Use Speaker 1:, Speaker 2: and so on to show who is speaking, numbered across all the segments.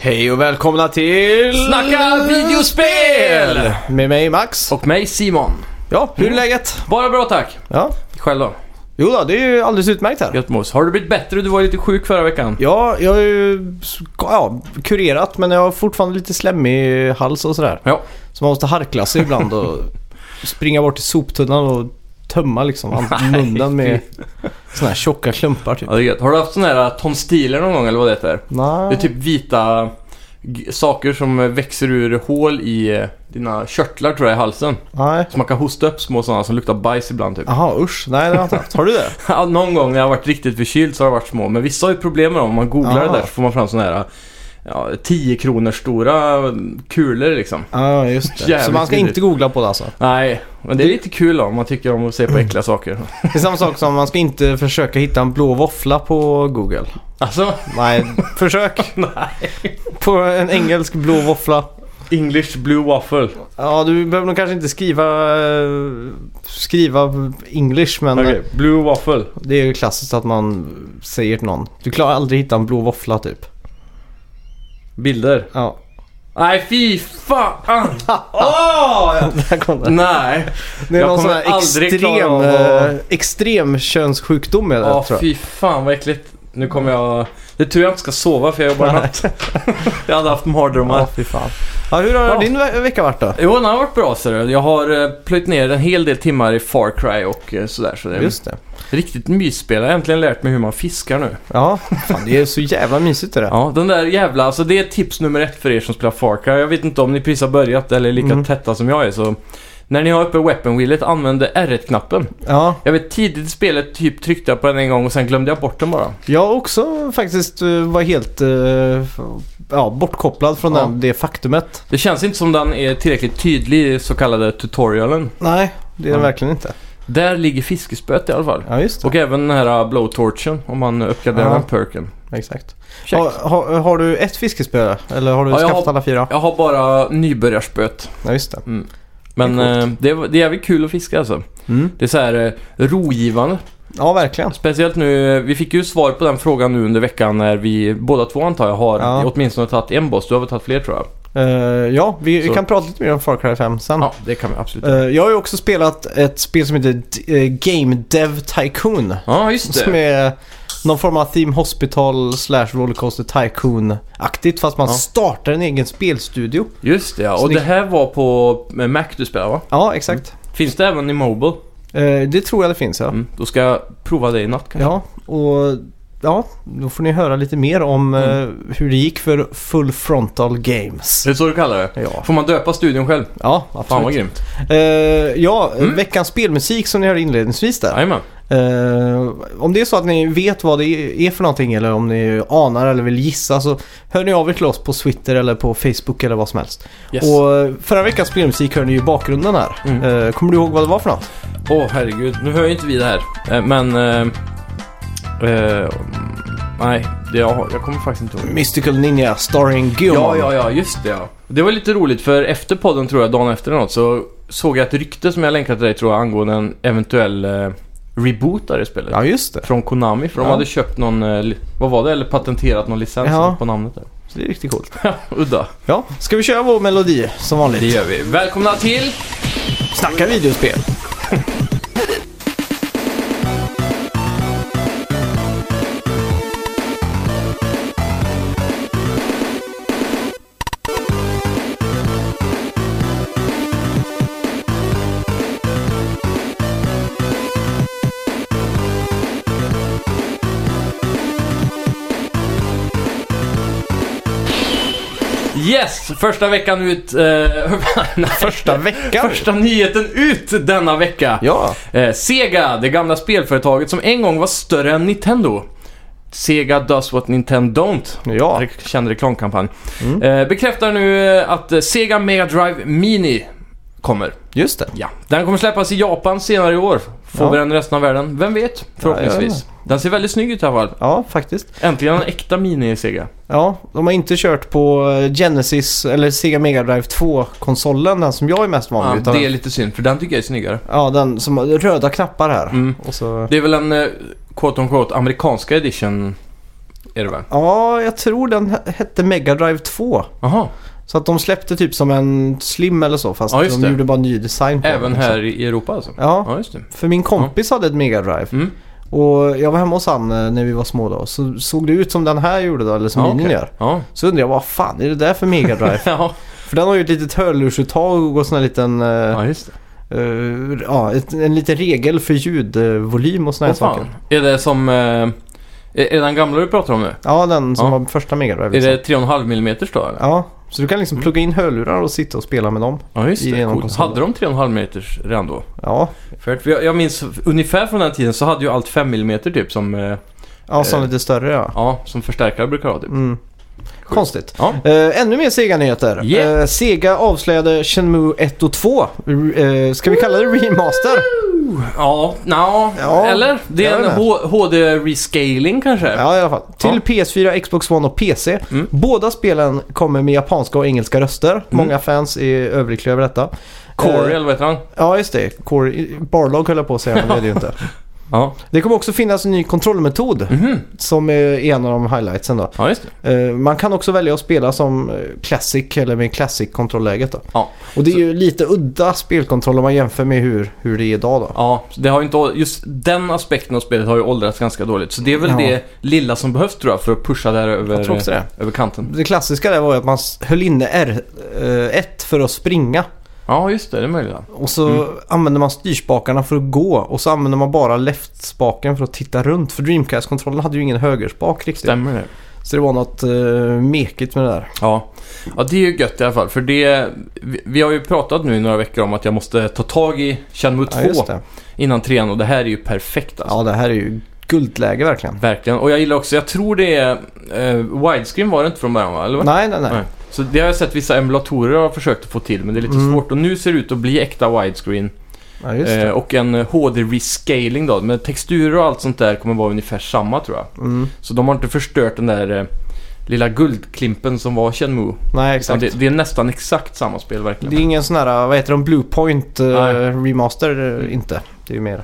Speaker 1: Hej och välkomna till...
Speaker 2: Snacka videospel!
Speaker 1: Med mig Max.
Speaker 2: Och mig Simon.
Speaker 1: Ja, hur är läget?
Speaker 2: Bara bra tack.
Speaker 1: Ja.
Speaker 2: Själv då?
Speaker 1: Jo då, det är ju alldeles utmärkt här.
Speaker 2: Gött mos. Har du blivit bättre? Du var ju lite sjuk förra veckan.
Speaker 1: Ja, jag har ju ska- ja, kurerat men jag har fortfarande lite slemmig hals och sådär.
Speaker 2: Ja.
Speaker 1: Så man måste harkla sig ibland och springa bort till soptunnan och tömma liksom an-
Speaker 2: Nej,
Speaker 1: munnen med sådana här tjocka klumpar typ.
Speaker 2: Ja, det är gött. Har du haft sådana här tonstiler någon gång eller vad det heter? Det är
Speaker 1: Nej.
Speaker 2: typ vita g- saker som växer ur hål i eh, dina körtlar tror jag i halsen.
Speaker 1: Nej.
Speaker 2: Så man kan hosta upp små sådana som luktar bajs ibland typ.
Speaker 1: Jaha, usch. Nej, det har jag inte haft. Har du det?
Speaker 2: Ja, någon gång när jag har varit riktigt förkyld så har det varit små. Men vissa har ju problem med dem. Om man googlar det
Speaker 1: Ah.
Speaker 2: där så får man fram sådana här äh, ja, 10 kronor stora äh, kulor liksom.
Speaker 1: Ja, just det. Så
Speaker 2: Jävligt
Speaker 1: man ska
Speaker 2: vidrigt.
Speaker 1: inte googla på det alltså?
Speaker 2: Nej, men det är lite kul då, om man tycker om att se på äckliga saker.
Speaker 1: Det är samma sak som man ska inte försöka hitta en blå våffla på Google.
Speaker 2: Alltså,
Speaker 1: Nej, försök. På en engelsk blå våffla.
Speaker 2: English Blue Waffle.
Speaker 1: Ja, du behöver nog kanske inte skriva, eh, skriva English men
Speaker 2: Okej, Blue Waffle.
Speaker 1: det är ju klassiskt att man säger till någon. Du klarar aldrig hitta en blå våffla typ.
Speaker 2: Bilder.
Speaker 1: Ja,
Speaker 2: Nej, fy fan!
Speaker 1: där kom det.
Speaker 2: Nej.
Speaker 1: Det är
Speaker 2: Jag
Speaker 1: någon sån
Speaker 2: kommer
Speaker 1: här
Speaker 2: aldrig klara
Speaker 1: extrem,
Speaker 2: av
Speaker 1: eh,
Speaker 2: att-
Speaker 1: extrem könssjukdom är det tror
Speaker 2: Ja,
Speaker 1: jag.
Speaker 2: fy fan vad äckligt. Nu kommer jag... Det är tur jag inte ska sova för jag jobbar natt. jag hade haft mardrömmar.
Speaker 1: Ja, fy fan. Ja, hur har
Speaker 2: Ja.
Speaker 1: din ve- vecka varit då?
Speaker 2: Jo, den har varit bra ser du. Jag har eh, plöjt ner en hel del timmar i Far Cry och eh, sådär. Så det är
Speaker 1: Just det.
Speaker 2: riktigt mysspel. Jag har äntligen lärt mig hur man fiskar nu.
Speaker 1: Ja, fan, det är så jävla mysigt det där.
Speaker 2: Ja, den där jävla, alltså det är tips nummer ett för er som spelar Far Cry. Jag vet inte om ni precis har börjat eller är lika
Speaker 1: Mm.
Speaker 2: tätta som jag är så... När ni har uppe weapon wheelet, använd R1-knappen.
Speaker 1: Ja,
Speaker 2: Jag vet tidigt i spelet typ tryckte jag på den en gång och sen glömde jag bort den bara.
Speaker 1: Jag också faktiskt eh, var helt eh, f- ja, bortkopplad från
Speaker 2: Ja.
Speaker 1: den, det faktumet.
Speaker 2: Det känns inte som den är tillräckligt tydlig i så kallade tutorialen.
Speaker 1: Nej, det är den
Speaker 2: Ja.
Speaker 1: verkligen inte.
Speaker 2: Där ligger fiskespöet i alla fall.
Speaker 1: Ja, just det.
Speaker 2: Och även den här uh, blowtorchen om man uppgraderar
Speaker 1: Ja.
Speaker 2: den perken.
Speaker 1: Exakt.
Speaker 2: Check.
Speaker 1: Ha, ha, har du ett fiskespö eller har du
Speaker 2: Ja, jag
Speaker 1: skaffat
Speaker 2: har-
Speaker 1: alla fyra?
Speaker 2: Jag har bara nybörjarspöet.
Speaker 1: Ja, just det.
Speaker 2: Men
Speaker 1: Det
Speaker 2: det
Speaker 1: är
Speaker 2: är, det, är, det är jävligt kul att fiska alltså.
Speaker 1: Mm.
Speaker 2: Det är så här eh, rogivande.
Speaker 1: Ja, verkligen.
Speaker 2: Speciellt nu, vi fick ju svar på den frågan nu under veckan när vi båda två antar jag har
Speaker 1: Ja.
Speaker 2: åtminstone tagit en boss. Du har väl tagit fler tror jag?
Speaker 1: Eh, ja, vi
Speaker 2: Så-
Speaker 1: kan prata lite mer om Far Cry 5 sen.
Speaker 2: Ja, det kan vi absolut.
Speaker 1: Eh, jag har ju också spelat ett spel som heter D- eh, Game Dev Tycoon.
Speaker 2: Ja, just
Speaker 1: Som
Speaker 2: det.
Speaker 1: är någon form av Theme Hospital slash Rollercoaster Tycoon-aktigt fast man
Speaker 2: Ja.
Speaker 1: startar en egen spelstudio.
Speaker 2: Just det ja.
Speaker 1: Så
Speaker 2: Och
Speaker 1: ni-
Speaker 2: det här var på eh, Mac du spelade va?
Speaker 1: Ja, exakt.
Speaker 2: Finns det även i Mobile?
Speaker 1: Eh, det tror jag det finns ja.
Speaker 2: Mm. Då ska jag prova det i natt kanske.
Speaker 1: Ja, och ja, då får ni höra lite mer om
Speaker 2: Mm.
Speaker 1: eh, hur det gick för Full Frontal Games.
Speaker 2: Det är så du kallar det?
Speaker 1: Ja,
Speaker 2: Får man döpa studion själv?
Speaker 1: ja
Speaker 2: Fan vad
Speaker 1: absolut.
Speaker 2: grymt.
Speaker 1: Eh, ja,
Speaker 2: Mm.
Speaker 1: veckans spelmusik som ni hörde inledningsvis där.
Speaker 2: Jajamän.
Speaker 1: Eh, om det är så att ni vet vad det är för någonting eller om ni anar eller vill gissa så hör ni av er till oss på Twitter eller på Facebook eller vad som helst.
Speaker 2: Yes. Åh
Speaker 1: Och eh, förra veckans spelmusik hörde ni ju i bakgrunden här.
Speaker 2: Mm.
Speaker 1: Eh, kommer du ihåg vad det var för något?
Speaker 2: herregud, nu hör ju inte vi det här. Eh, Men... Eh, eh, nej, det, jag, jag kommer faktiskt inte ihåg.
Speaker 1: Mystical Ninja starring Guillaume.
Speaker 2: Ja, ja, ja, just det ja. Det var lite roligt för efter podden tror jag, dagen efter eller något, så såg jag ett rykte som jag länkade till dig tror jag angående en eventuell eh, reboot av det spelet.
Speaker 1: ja, just det.
Speaker 2: Från Konami, för de
Speaker 1: Ja.
Speaker 2: hade köpt någon, eh, li- vad var det, eller patenterat någon licens
Speaker 1: Ja.
Speaker 2: på namnet där.
Speaker 1: Så det är riktigt coolt.
Speaker 2: Udda.
Speaker 1: Ja, ska vi köra vår melodi som vanligt?
Speaker 2: Det gör vi. Välkomna till...
Speaker 1: Snacka videospel!
Speaker 2: Yes! Första veckan ut... Eh, nej,
Speaker 1: Första veckan!
Speaker 2: första nyheten ut denna vecka.
Speaker 1: Ja,
Speaker 2: Eh, Sega, det gamla spelföretaget som en gång var större än Nintendo. Sega does what Nintendo don't.
Speaker 1: ja.
Speaker 2: Re- känd reklamkampanj.
Speaker 1: Mm.
Speaker 2: Eh, bekräftar nu eh, att eh, Sega Mega Drive Mini kommer.
Speaker 1: just det.
Speaker 2: Ja. Den kommer släppas i Japan senare i år. Får
Speaker 1: Ja.
Speaker 2: vi den i resten av världen? Vem vet? Förhoppningsvis. den ser väldigt snygg ut i alla fall.
Speaker 1: Ja, faktiskt.
Speaker 2: Äntligen en äkta Mini i Sega.
Speaker 1: Ja, de har inte kört på eh, Genesis eller Sega Mega Drive 2-konsolen, den som jag är mest van
Speaker 2: Ja,
Speaker 1: vid. utan-
Speaker 2: det är lite synd, för den tycker jag är snyggare.
Speaker 1: Ja, den som har röda knappar här.
Speaker 2: Mm.
Speaker 1: Och så...
Speaker 2: Det är väl en eh, quote on quote amerikanska edition är det väl?
Speaker 1: Ja, jag tror den he- hette Mega Drive 2.
Speaker 2: Jaha,
Speaker 1: Så att de släppte typ som en Slim eller så fast
Speaker 2: Ja, just
Speaker 1: de
Speaker 2: det.
Speaker 1: gjorde bara ny design på
Speaker 2: även
Speaker 1: den.
Speaker 2: här i Europa alltså?
Speaker 1: Ja,
Speaker 2: Ja, just det.
Speaker 1: för min kompis hade ett Mega Drive.
Speaker 2: Mm.
Speaker 1: Och jag var hemma hos han eh, när vi var små då. Så såg det ut som den här gjorde då, eller som
Speaker 2: ja,
Speaker 1: minin
Speaker 2: Ah, okej.
Speaker 1: gör.
Speaker 2: Ja.
Speaker 1: Så undrar jag vad fan är det där för Mega Drive?
Speaker 2: ja.
Speaker 1: för den har ju ett litet hörlursuttag och sån här liten... eh,
Speaker 2: Ah, ja, just det.
Speaker 1: eh, ja, ett, en liten regel för ljudvolym och såna här
Speaker 2: Åh,
Speaker 1: saker.
Speaker 2: fan. Är det som... Eh, är är den gamla du pratar om nu?
Speaker 1: Ja, den som
Speaker 2: Ja.
Speaker 1: var första Mega Drive.
Speaker 2: Ah. Är
Speaker 1: Liksom.
Speaker 2: det Mm. 3,5 mm då eller?
Speaker 1: Ja, så du kan liksom plugga in hörlurar och sitta och spela med dem.
Speaker 2: Ja, just
Speaker 1: I
Speaker 2: det.
Speaker 1: en av
Speaker 2: Coolt.
Speaker 1: konsolerna.
Speaker 2: Hade de 3,5 mm redan då?
Speaker 1: Ja,
Speaker 2: För att jag, jag minns ungefär från den tiden så hade ju allt 5 mm typ som, eh,
Speaker 1: ja som
Speaker 2: Eh.
Speaker 1: lite större ja.
Speaker 2: ja, som förstärkare brukar ha typ.
Speaker 1: Mm. Konstigt.
Speaker 2: Ja.
Speaker 1: Eh, ännu mer Sega-nyheter.
Speaker 2: Yeah.
Speaker 1: Eh, Sega avslöjade Shenmue 1 och 2. Uh, ska vi kalla det remaster?
Speaker 2: Ja, nå,
Speaker 1: Ja,
Speaker 2: eller? Det
Speaker 1: jag
Speaker 2: är en
Speaker 1: vet inte.
Speaker 2: H- HD-rescaling kanske?
Speaker 1: Ja, i alla fall. Till
Speaker 2: Ja.
Speaker 1: PS4, Xbox One och PC.
Speaker 2: Mm.
Speaker 1: Båda spelen kommer med japanska och engelska röster. Många fans är överlyckliga över detta.
Speaker 2: Corey,
Speaker 1: Eh,
Speaker 2: eller vad heter han?
Speaker 1: Ja, just det. Core, Barlog höll jag på att säga, men det är det ju inte.
Speaker 2: Ja,
Speaker 1: Det kommer också finnas en ny kontrollmetod
Speaker 2: Mhm.
Speaker 1: som är en av de highlightsen då.
Speaker 2: ja just det.
Speaker 1: Eh, Man kan också välja att spela som eh, Classic eller med Classic-kontrollläget då.
Speaker 2: Ja.
Speaker 1: Och det är ju lite udda spelkontroll om man jämför med hur, hur det är idag då.
Speaker 2: Ja, så det har ju inte, just den aspekten av spelet har ju åldrats ganska dåligt. Så det är väl
Speaker 1: Ja.
Speaker 2: det lilla som behövs tror jag för att pusha där
Speaker 1: Jag tror också
Speaker 2: över, eh,
Speaker 1: det.
Speaker 2: över kanten.
Speaker 1: Det klassiska där var ju att man s- höll inne R1 för att springa.
Speaker 2: Ja, just det. Det är möjligt. ja.
Speaker 1: Och så
Speaker 2: Mm.
Speaker 1: använde man styrspakarna för att gå och så använde man bara left-spaken för att titta runt. För Dreamcast-kontrollen hade ju ingen högerspak riktigt.
Speaker 2: Stämmer det?
Speaker 1: Så det var något uh, mekigt med det där.
Speaker 2: Ja. ja, det är ju gött i alla fall. För det, vi, vi har ju pratat nu i några veckor om att jag måste ta tag i Shenmue 2
Speaker 1: Ja, just det.
Speaker 2: innan 3 och det här är ju perfekt alltså.
Speaker 1: Ja, det här är ju guldläge verkligen.
Speaker 2: Verkligen. Och jag gillar också, jag tror det är eh, widescreen var det inte från början va? Eller? vad?
Speaker 1: Nej, nej, nej.
Speaker 2: Nej. Så det har jag sett vissa emulatorer har försökt att få till men det är lite
Speaker 1: Mm.
Speaker 2: svårt. Och nu ser det ut att bli äkta widescreen.
Speaker 1: Ja, just det.
Speaker 2: Eh, och en eh, HD-rescaling då. Men texturer och allt sånt där kommer vara ungefär samma tror jag.
Speaker 1: Mm.
Speaker 2: Så de har inte förstört den där eh, lilla guldklimpen som var Shenmue.
Speaker 1: Nej,
Speaker 2: Utan
Speaker 1: exakt.
Speaker 2: Det, det är nästan exakt samma spel
Speaker 1: Det
Speaker 2: verkligen.
Speaker 1: är ingen sån här, vad heter de, Bluepoint
Speaker 2: Nej.
Speaker 1: uh, Remaster eh, inte. Det är ju mer.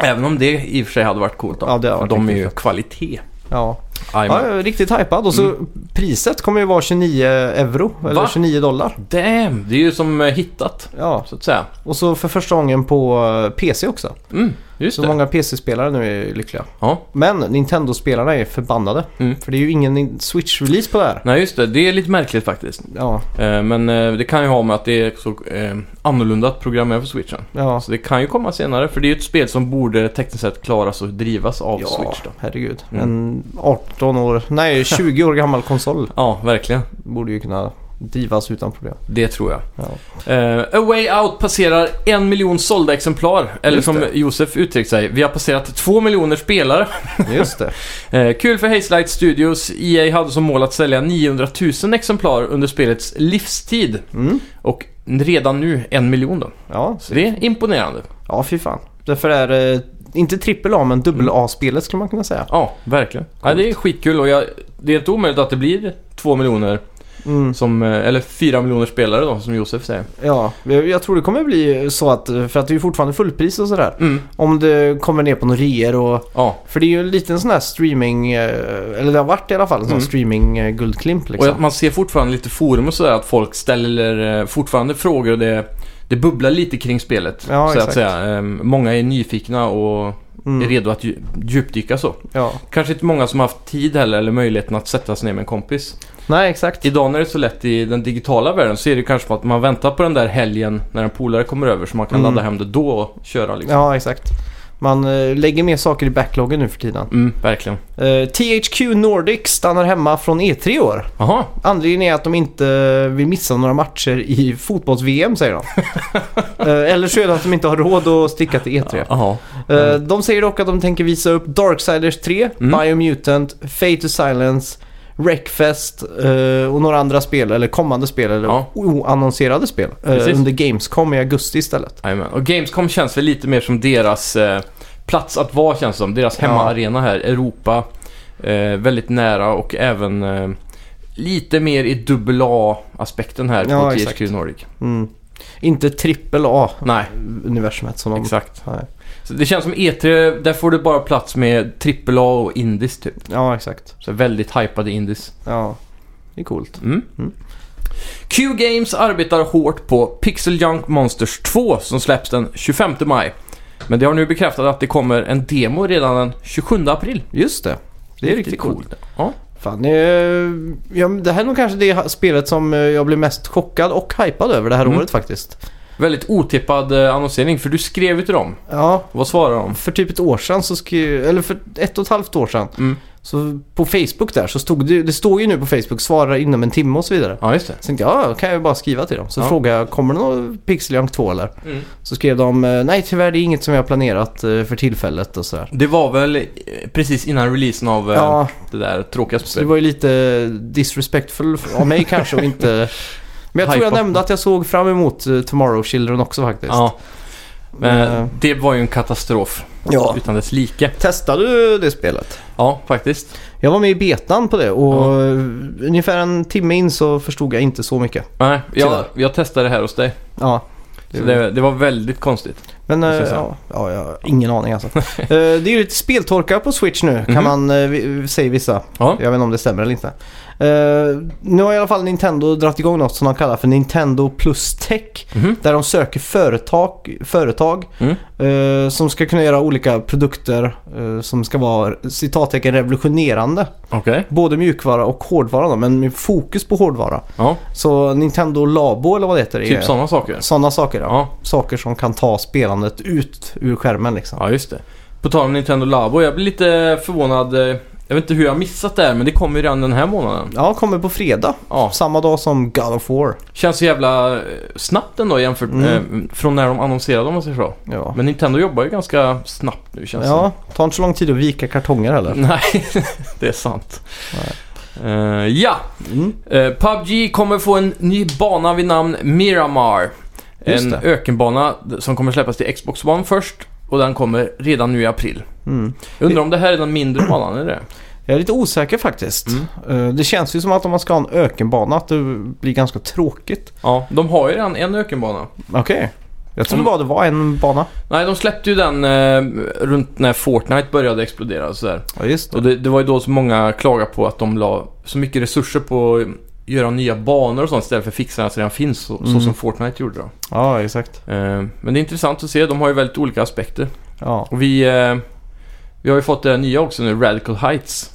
Speaker 2: Även om det i och för sig hade varit coolt då.
Speaker 1: Ja, det hade
Speaker 2: för
Speaker 1: varit
Speaker 2: de är
Speaker 1: riktigt
Speaker 2: ju
Speaker 1: fett.
Speaker 2: kvalitet.
Speaker 1: Ja.
Speaker 2: Jajamän.
Speaker 1: ja, jag är riktigt hypad. Och så priset kommer ju vara 29 euro, eller
Speaker 2: Mm. Va?
Speaker 1: 29 dollar.
Speaker 2: Damn! Det är ju som eh, hittat,
Speaker 1: Ja,
Speaker 2: så att säga.
Speaker 1: och så för första gången på eh, PC också.
Speaker 2: Mm, just
Speaker 1: Så
Speaker 2: det.
Speaker 1: många PC-spelare nu är lyckliga.
Speaker 2: Ja.
Speaker 1: Men Nintendo-spelarna är förbannade.
Speaker 2: Mm.
Speaker 1: För det är ju ingen Nin- Switch-release på det här.
Speaker 2: Nej, just det. Det är lite märkligt faktiskt.
Speaker 1: Ja,
Speaker 2: Eh, Men eh, det kan ju ha med att det är så eh, annorlunda att programmera för switchen.
Speaker 1: ja.
Speaker 2: Så det kan ju komma senare, för det är ju ett spel som borde tekniskt sett klaras och drivas av
Speaker 1: ja,
Speaker 2: Switch då.
Speaker 1: herregud.
Speaker 2: Mm.
Speaker 1: En 18 år, nej 20 år gammal konsol
Speaker 2: Ja, verkligen.
Speaker 1: borde ju kunna drivas utan problem.
Speaker 2: Det tror jag.
Speaker 1: Ja.
Speaker 2: Eh, A Way Out passerar en miljon sålda exemplar. Eller
Speaker 1: Just
Speaker 2: som
Speaker 1: det.
Speaker 2: Josef uttryckte sig, vi har passerat två miljoner spelare.
Speaker 1: Just det.
Speaker 2: Eh, kul för Hazelight Studios. EA hade som mål att sälja 900 000 exemplar under spelets livstid.
Speaker 1: Mm.
Speaker 2: Och redan nu en miljon då.
Speaker 1: Ja,
Speaker 2: Så det är imponerande.
Speaker 1: Ja, fy fan. Därför är det inte trippel A men dubbel
Speaker 2: Mm.
Speaker 1: A-spelet skulle man kunna säga.
Speaker 2: Ja, verkligen. Ja, det är skitkul och jag, det är inte omöjligt att det blir två miljoner,
Speaker 1: Mm.
Speaker 2: som, eh, eller fyra miljoner spelare då, som Josef säger.
Speaker 1: Ja, jag jag tror det kommer bli så att, för att det är ju fortfarande fullpris och sådär.
Speaker 2: Mm.
Speaker 1: Om det kommer ner på några reor och...
Speaker 2: Ja,
Speaker 1: För det är ju en liten sån här streaming, eh, eller det har varit i alla fall en sån
Speaker 2: Mm.
Speaker 1: streaming-guldklimp
Speaker 2: och
Speaker 1: liksom.
Speaker 2: att man ser fortfarande lite forum och sådär att folk ställer eh, fortfarande frågor och det, det bubblar lite kring spelet.
Speaker 1: Ja,
Speaker 2: så att
Speaker 1: exakt.
Speaker 2: säga. Ehm, Många är nyfikna och är
Speaker 1: Mm.
Speaker 2: redo att dju- djupdyka så.
Speaker 1: Ja.
Speaker 2: Kanske inte många som har haft tid heller eller möjligheten att sätta sig ner med en kompis.
Speaker 1: Nej, exakt.
Speaker 2: Idag när det är så lätt i den digitala världen så är det kanske att man väntar på den där helgen när en polare kommer över så man kan
Speaker 1: Mm.
Speaker 2: ladda hem det då och köra liksom.
Speaker 1: Ja, exakt. Man eh, lägger mer saker i backloggen nu för tiden.
Speaker 2: Mm, verkligen.
Speaker 1: Eh, THQ Nordic stannar hemma från E3 i år.
Speaker 2: Jaha,
Speaker 1: Anledningen är att de inte vill missa några matcher i fotbolls-VM säger de. Eh, Eller så är det att de inte har råd att sticka till E E3.
Speaker 2: jaha.
Speaker 1: Eh, De säger dock att de tänker visa upp Darksiders 3,
Speaker 2: Mm.
Speaker 1: Biomutant, Fate to Silence, Wreckfest eh, och några andra spel, eller kommande spel, eller
Speaker 2: Ja.
Speaker 1: oannonserade spel. eh,
Speaker 2: Precis.
Speaker 1: Under Gamescom i augusti istället.
Speaker 2: Jajamän. Och Gamescom känns väl lite mer som deras eh, plats att vara känns det som. Deras
Speaker 1: Ja.
Speaker 2: hemmaarena här. Europa, eh, väldigt nära och även eh, lite mer i dubbel A-aspekten här
Speaker 1: Ja,
Speaker 2: på
Speaker 1: exakt.
Speaker 2: THQ Nordic.
Speaker 1: Mm. Inte trippel A
Speaker 2: Nej,
Speaker 1: universumet som de...
Speaker 2: exakt.
Speaker 1: Nej.
Speaker 2: Så det känns som E3, där får du bara plats med AAA och Indies typ.
Speaker 1: Ja, exakt.
Speaker 2: Så väldigt hypade Indies.
Speaker 1: Ja, det är coolt.
Speaker 2: Mm.
Speaker 1: Mm.
Speaker 2: Q Games arbetar hårt på Pixel Junk Monsters 2 som släpps den 25 maj. Men det har nu bekräftat att det kommer en demo redan den 27 april.
Speaker 1: Just det. Det är riktigt, coolt.
Speaker 2: Ja.
Speaker 1: Fan, eh, ja, men det här är nog kanske det ha- spelet som eh, jag blev mest chockad och hypad över det här
Speaker 2: Mm.
Speaker 1: året faktiskt.
Speaker 2: Väldigt otippad eh, annonsering för du skrev ju till dem.
Speaker 1: Ja,
Speaker 2: Vad svarar de?
Speaker 1: för typ ett år sedan, så skri- eller för ett och ett halvt år sedan,
Speaker 2: Mm.
Speaker 1: så på Facebook där så stod det, det står ju nu på Facebook, svara inom en timme och så vidare.
Speaker 2: Ja, just det.
Speaker 1: Så tänkte jag, ja, då kan jag ju bara skriva till dem. Så
Speaker 2: Ja.
Speaker 1: frågade jag, kommer det någon Pixel Junk 2 eller?
Speaker 2: Mm.
Speaker 1: Så skrev de, eh, nej tyvärr det är inget som jag har planerat eh, för tillfället och sådär.
Speaker 2: Det var väl eh, precis innan releasen av eh,
Speaker 1: Ja,
Speaker 2: det där tråkiga
Speaker 1: så det
Speaker 2: spelet.
Speaker 1: var ju lite disrespectful av mig kanske och inte... Men jag tror jag
Speaker 2: Hypa.
Speaker 1: nämnde att jag såg fram emot eh, Tomorrow Children också faktiskt.
Speaker 2: Ja, men
Speaker 1: Men, eh,
Speaker 2: det var ju en katastrof
Speaker 1: Ja.
Speaker 2: utan dess like.
Speaker 1: Testade du det spelet?
Speaker 2: Ja, faktiskt.
Speaker 1: Jag var med i betan på det och
Speaker 2: Ja.
Speaker 1: eh, ungefär en timme in så förstod jag inte så mycket.
Speaker 2: Nej, jag,
Speaker 1: Tyvärr.
Speaker 2: jag testade det här hos dig.
Speaker 1: Ja.
Speaker 2: Så det, det var väldigt konstigt.
Speaker 1: Men eh,
Speaker 2: Det känns så.
Speaker 1: ja, ja, jag har ingen aning alltså. Eh, det är ju lite speltorka på Switch nu kan
Speaker 2: Mhm.
Speaker 1: man eh, vi- säga vissa.
Speaker 2: Ja.
Speaker 1: Jag vet inte om det stämmer eller inte. Eh, nu har i alla fall Nintendo dragit igång något som de kallar för Nintendo plus tech.
Speaker 2: Mhm.
Speaker 1: Där de söker företag, företag
Speaker 2: Mm.
Speaker 1: eh, som ska kunna göra olika produkter eh, som ska vara citattecken revolutionerande.
Speaker 2: Okej.
Speaker 1: Både mjukvara och hårdvara då, men med fokus på hårdvara.
Speaker 2: Ja,
Speaker 1: Så Nintendo Labo eller vad det heter.
Speaker 2: typ sådana saker.
Speaker 1: Sådana saker ja.
Speaker 2: Ja.
Speaker 1: Saker som kan ta spelandet ut ur skärmen liksom.
Speaker 2: ja, just det. På tal om Nintendo Labo, jag blir lite förvånad. eh, Jag vet inte hur jag har missat det här, men det kommer ju redan den här månaden.
Speaker 1: Ja, kommer på fredag.
Speaker 2: Ja,
Speaker 1: Samma dag som God of War.
Speaker 2: känns så jävla eh, snabbt ändå jämfört
Speaker 1: Mm.
Speaker 2: eh, från när de annonserade om man säger så.
Speaker 1: Ja.
Speaker 2: Men Nintendo jobbar ju ganska snabbt nu känns det
Speaker 1: ja, ta inte så lång tid att vika kartonger heller.
Speaker 2: Nej, det är sant. Eh, ja,
Speaker 1: Mm.
Speaker 2: Eh, PubG kommer få en ny bana vid namn Miramar.
Speaker 1: Just
Speaker 2: En
Speaker 1: det.
Speaker 2: ökenbana som kommer släppas till Xbox One först och den kommer redan nu i april.
Speaker 1: Mm.
Speaker 2: Jag undrar om det här är den mindre banan, är det
Speaker 1: Jag är lite osäker faktiskt.
Speaker 2: Mm.
Speaker 1: Eh, Det känns ju som att om man ska ha en ökenbana att det blir ganska tråkigt.
Speaker 2: Ja, de har ju redan en ökenbana.
Speaker 1: Okej. Jag trodde
Speaker 2: Mm.
Speaker 1: bara det var en bana.
Speaker 2: Nej, de släppte ju den eh, runt när Fortnite började explodera och sådär.
Speaker 1: Ja, just
Speaker 2: Och
Speaker 1: det.
Speaker 2: det, det var ju då så många klagade på att de la så mycket resurser på att göra nya banor och sånt istället för att fixa det som redan finns, så, så
Speaker 1: Mm.
Speaker 2: som Fortnite gjorde då.
Speaker 1: Ja, exakt.
Speaker 2: Eh, men det är intressant att se, de har ju väldigt olika aspekter.
Speaker 1: Ja,
Speaker 2: Och vi, eh, vi har ju fått det här nya också nu, Radical Heights.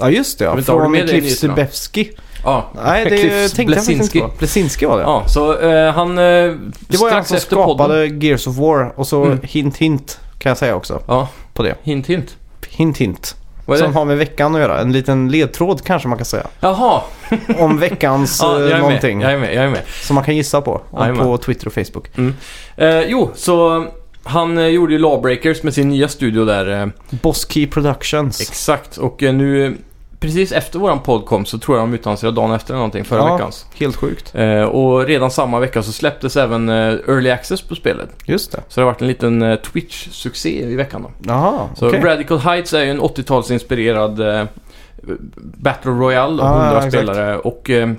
Speaker 1: ja just det.
Speaker 2: Jag
Speaker 1: Ja.
Speaker 2: vet inte, har du
Speaker 1: Från
Speaker 2: med dig
Speaker 1: Cliff
Speaker 2: nyheterna?
Speaker 1: Zebewski.
Speaker 2: Ja,
Speaker 1: Nej, det
Speaker 2: Cliff
Speaker 1: tänkte jag faktiskt
Speaker 2: Blesinski.
Speaker 1: inte på. Blesinski var det.
Speaker 2: ja så eh, han... Eh,
Speaker 1: Det var ju han
Speaker 2: strax
Speaker 1: som
Speaker 2: efter podden.
Speaker 1: skapade Gears of War och så
Speaker 2: Mm.
Speaker 1: hint hint kan jag säga också
Speaker 2: Ja,
Speaker 1: på det.
Speaker 2: hint hint.
Speaker 1: Hint hint.
Speaker 2: Vad är
Speaker 1: Som
Speaker 2: det?
Speaker 1: har med veckan att göra. En liten ledtråd kanske man kan säga.
Speaker 2: Jaha!
Speaker 1: Om veckans
Speaker 2: Ja, jag
Speaker 1: eh,
Speaker 2: är
Speaker 1: någonting.
Speaker 2: med. Jag är med, jag är med.
Speaker 1: Som man kan gissa på. Och
Speaker 2: Jajamän.
Speaker 1: på Twitter och Facebook.
Speaker 2: Eh, jo, så eh, han eh, gjorde ju Lawbreakers med sin nya studio där. Eh,
Speaker 1: Boskey Productions.
Speaker 2: exakt, och eh, nu eh, precis efter våran podd kom så tror jag de utannonserade dagen efter eller någonting, förra
Speaker 1: Ja.
Speaker 2: veckans.
Speaker 1: Helt sjukt.
Speaker 2: Eh, och redan samma vecka så släpptes även eh, Early Access på spelet.
Speaker 1: Just det.
Speaker 2: Så det har varit en liten eh, Twitch-succé i veckan då.
Speaker 1: Jaha,
Speaker 2: Så
Speaker 1: okej.
Speaker 2: Radical Heights är ju en 80-talsinspirerad eh, Battle Royale och
Speaker 1: Ah,
Speaker 2: 100
Speaker 1: ja, exakt.
Speaker 2: spelare och eh,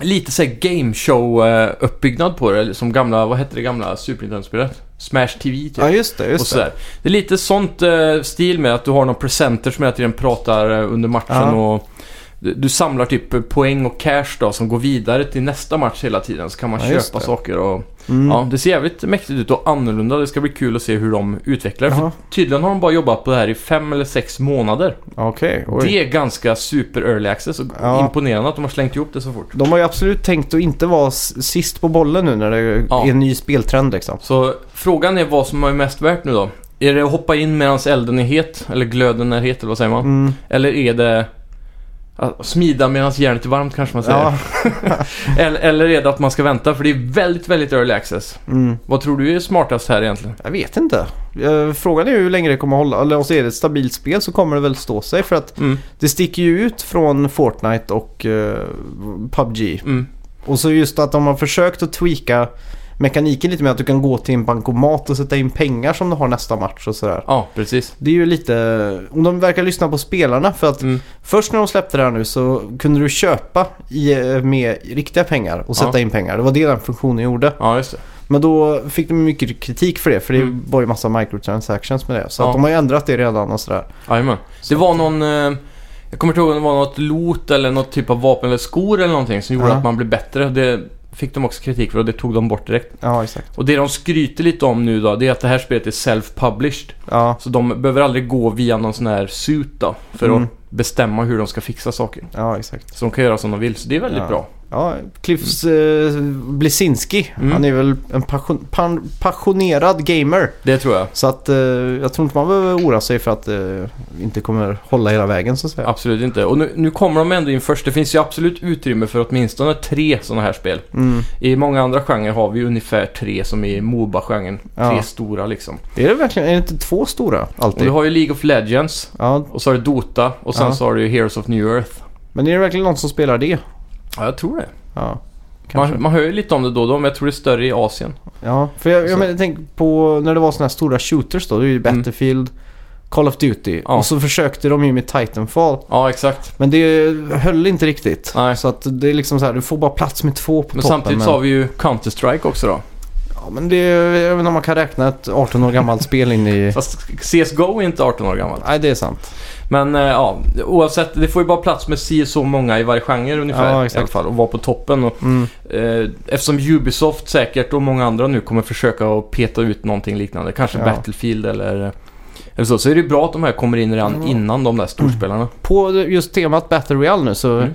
Speaker 2: lite såhär game show eh, uppbyggnad på det. Som gamla, vad hette det gamla Super Nintendo-spelet? Smash TV typ.
Speaker 1: Ja, just det.
Speaker 2: och
Speaker 1: Just det.
Speaker 2: sådär. Det är lite sånt eh, stil med att du har någon presenter som hela tiden pratar eh, under matchen
Speaker 1: Ja.
Speaker 2: och du, du samlar typ poäng och cash då som går vidare till nästa match hela tiden. Så kan man
Speaker 1: Ja, just
Speaker 2: köpa
Speaker 1: det.
Speaker 2: saker och
Speaker 1: Mm.
Speaker 2: ja, det ser jävligt mäktigt ut och annorlunda. Det ska bli kul att se hur de utvecklar det.
Speaker 1: Jaha.
Speaker 2: Tydligen har de bara jobbat på det här i fem eller sex månader.
Speaker 1: Okej, oj.
Speaker 2: Det är ganska super early access och
Speaker 1: Ja.
Speaker 2: imponerande att de har slängt ihop det så fort.
Speaker 1: De har ju absolut tänkt att inte vara s- sist på bollen nu när det
Speaker 2: Ja.
Speaker 1: är en ny speltrend liksom.
Speaker 2: Så frågan är vad som är mest värt nu då? Är det att hoppa in medan elden är het? Eller glöden är het, eller vad säger man?
Speaker 1: Mm.
Speaker 2: Eller är det att smida medan järnet är varmt kanske man säger?
Speaker 1: Ja.
Speaker 2: Eller, eller är det att man ska vänta? För det är väldigt, väldigt early access.
Speaker 1: Mm.
Speaker 2: Vad tror du är smartast här egentligen?
Speaker 1: Jag vet inte. Eh, Frågan är ju hur länge det kommer att hålla. Eller om det är ett stabilt spel så kommer det väl stå sig. För att
Speaker 2: Mm,
Speaker 1: det sticker ju ut från Fortnite och eh, PubG.
Speaker 2: mm,
Speaker 1: Och så just att de har försökt att tweaka mekaniken lite med att du kan gå till en bankomat och sätta in pengar som du har nästa match och sådär.
Speaker 2: ja, precis.
Speaker 1: Det är ju lite... Om de verkar lyssna på spelarna för att
Speaker 2: Mm.
Speaker 1: först när de släppte det här nu så kunde du köpa i, med riktiga pengar och sätta
Speaker 2: Ja.
Speaker 1: in pengar. Det var det den funktionen gjorde.
Speaker 2: Ja, just det.
Speaker 1: Men då fick de mycket kritik för det för det
Speaker 2: Mm.
Speaker 1: var ju massa microtransactions med det. Så
Speaker 2: Ja.
Speaker 1: att de har ju ändrat det redan och sådär.
Speaker 2: Jajamän. Det var någon... eh, Jag kommer inte ihåg om det var något loot eller något typ av vapen eller skor eller någonting som gjorde
Speaker 1: Ja.
Speaker 2: att man blev bättre. Det fick de också kritik för och det tog de bort direkt.
Speaker 1: Ja, exakt.
Speaker 2: Och det de skryter lite om nu då, det är att det här spelet är self-published.
Speaker 1: Ja,
Speaker 2: Så de behöver aldrig gå via någon sån här suit då, för
Speaker 1: Mm.
Speaker 2: att bestämma hur de ska fixa saker.
Speaker 1: ja exakt.
Speaker 2: Så de kan göra som de vill, så det är väldigt
Speaker 1: Ja.
Speaker 2: bra.
Speaker 1: Ja, Cliff eh, Blesinski,
Speaker 2: Mm.
Speaker 1: han är väl en passion, pan, passionerad gamer.
Speaker 2: Det tror jag.
Speaker 1: Så att eh, jag tror inte man behöver oroa sig för att eh, inte kommer hålla hela vägen så att säga.
Speaker 2: Absolut inte. Och nu, nu kommer de ändå in först. Det finns ju absolut utrymme för åtminstone tre sådana här spel.
Speaker 1: Mm.
Speaker 2: I många andra genrer har vi ungefär tre som i Moba-genren.
Speaker 1: Ja.
Speaker 2: Tre stora liksom.
Speaker 1: Är det verkligen, är det inte två stora
Speaker 2: Och du
Speaker 1: alltid?
Speaker 2: har ju League of Legends.
Speaker 1: Ja,
Speaker 2: Och så har du Dota. Och sen
Speaker 1: Ja.
Speaker 2: så har du ju Heroes of New Earth.
Speaker 1: men är det verkligen någon som spelar det?
Speaker 2: Ja, jag tror det.
Speaker 1: Ja, kanske.
Speaker 2: Man, man hör ju lite om det då och då, men jag tror det är större i Asien.
Speaker 1: Ja, för jag,
Speaker 2: Så. Mm.
Speaker 1: jag, men, jag tänker på när det var sådana här stora shooters då. Det är ju Battlefield, Call of Duty.
Speaker 2: Ja.
Speaker 1: Och så försökte de ju med Titanfall.
Speaker 2: Ja, exakt.
Speaker 1: Men det höll inte riktigt.
Speaker 2: Nej.
Speaker 1: Så att det är liksom så här, du får bara plats med två på
Speaker 2: Men
Speaker 1: toppen.
Speaker 2: samtidigt så har vi ju Counter-Strike också då.
Speaker 1: Ja, men det är, jag vet inte om man kan räkna ett 18 år gammalt spel in i...
Speaker 2: Fast CSGO är inte 18 år gammalt.
Speaker 1: Nej, det är sant.
Speaker 2: Men eh, ja, oavsett. Det får ju bara plats med si och så många i varje genre ungefär.
Speaker 1: Ja,
Speaker 2: I alla
Speaker 1: exakt.
Speaker 2: fall. Och vara på toppen. Och
Speaker 1: Mm.
Speaker 2: Eh, Eftersom Ubisoft säkert och många andra nu kommer försöka att peta ut någonting liknande. Kanske
Speaker 1: Ja.
Speaker 2: Battlefield eller, eh, eller så. Så är det ju bra att de här kommer in redan
Speaker 1: Mm.
Speaker 2: innan de där storspelarna.
Speaker 1: På just temat Battle Royale nu så...
Speaker 2: Mm.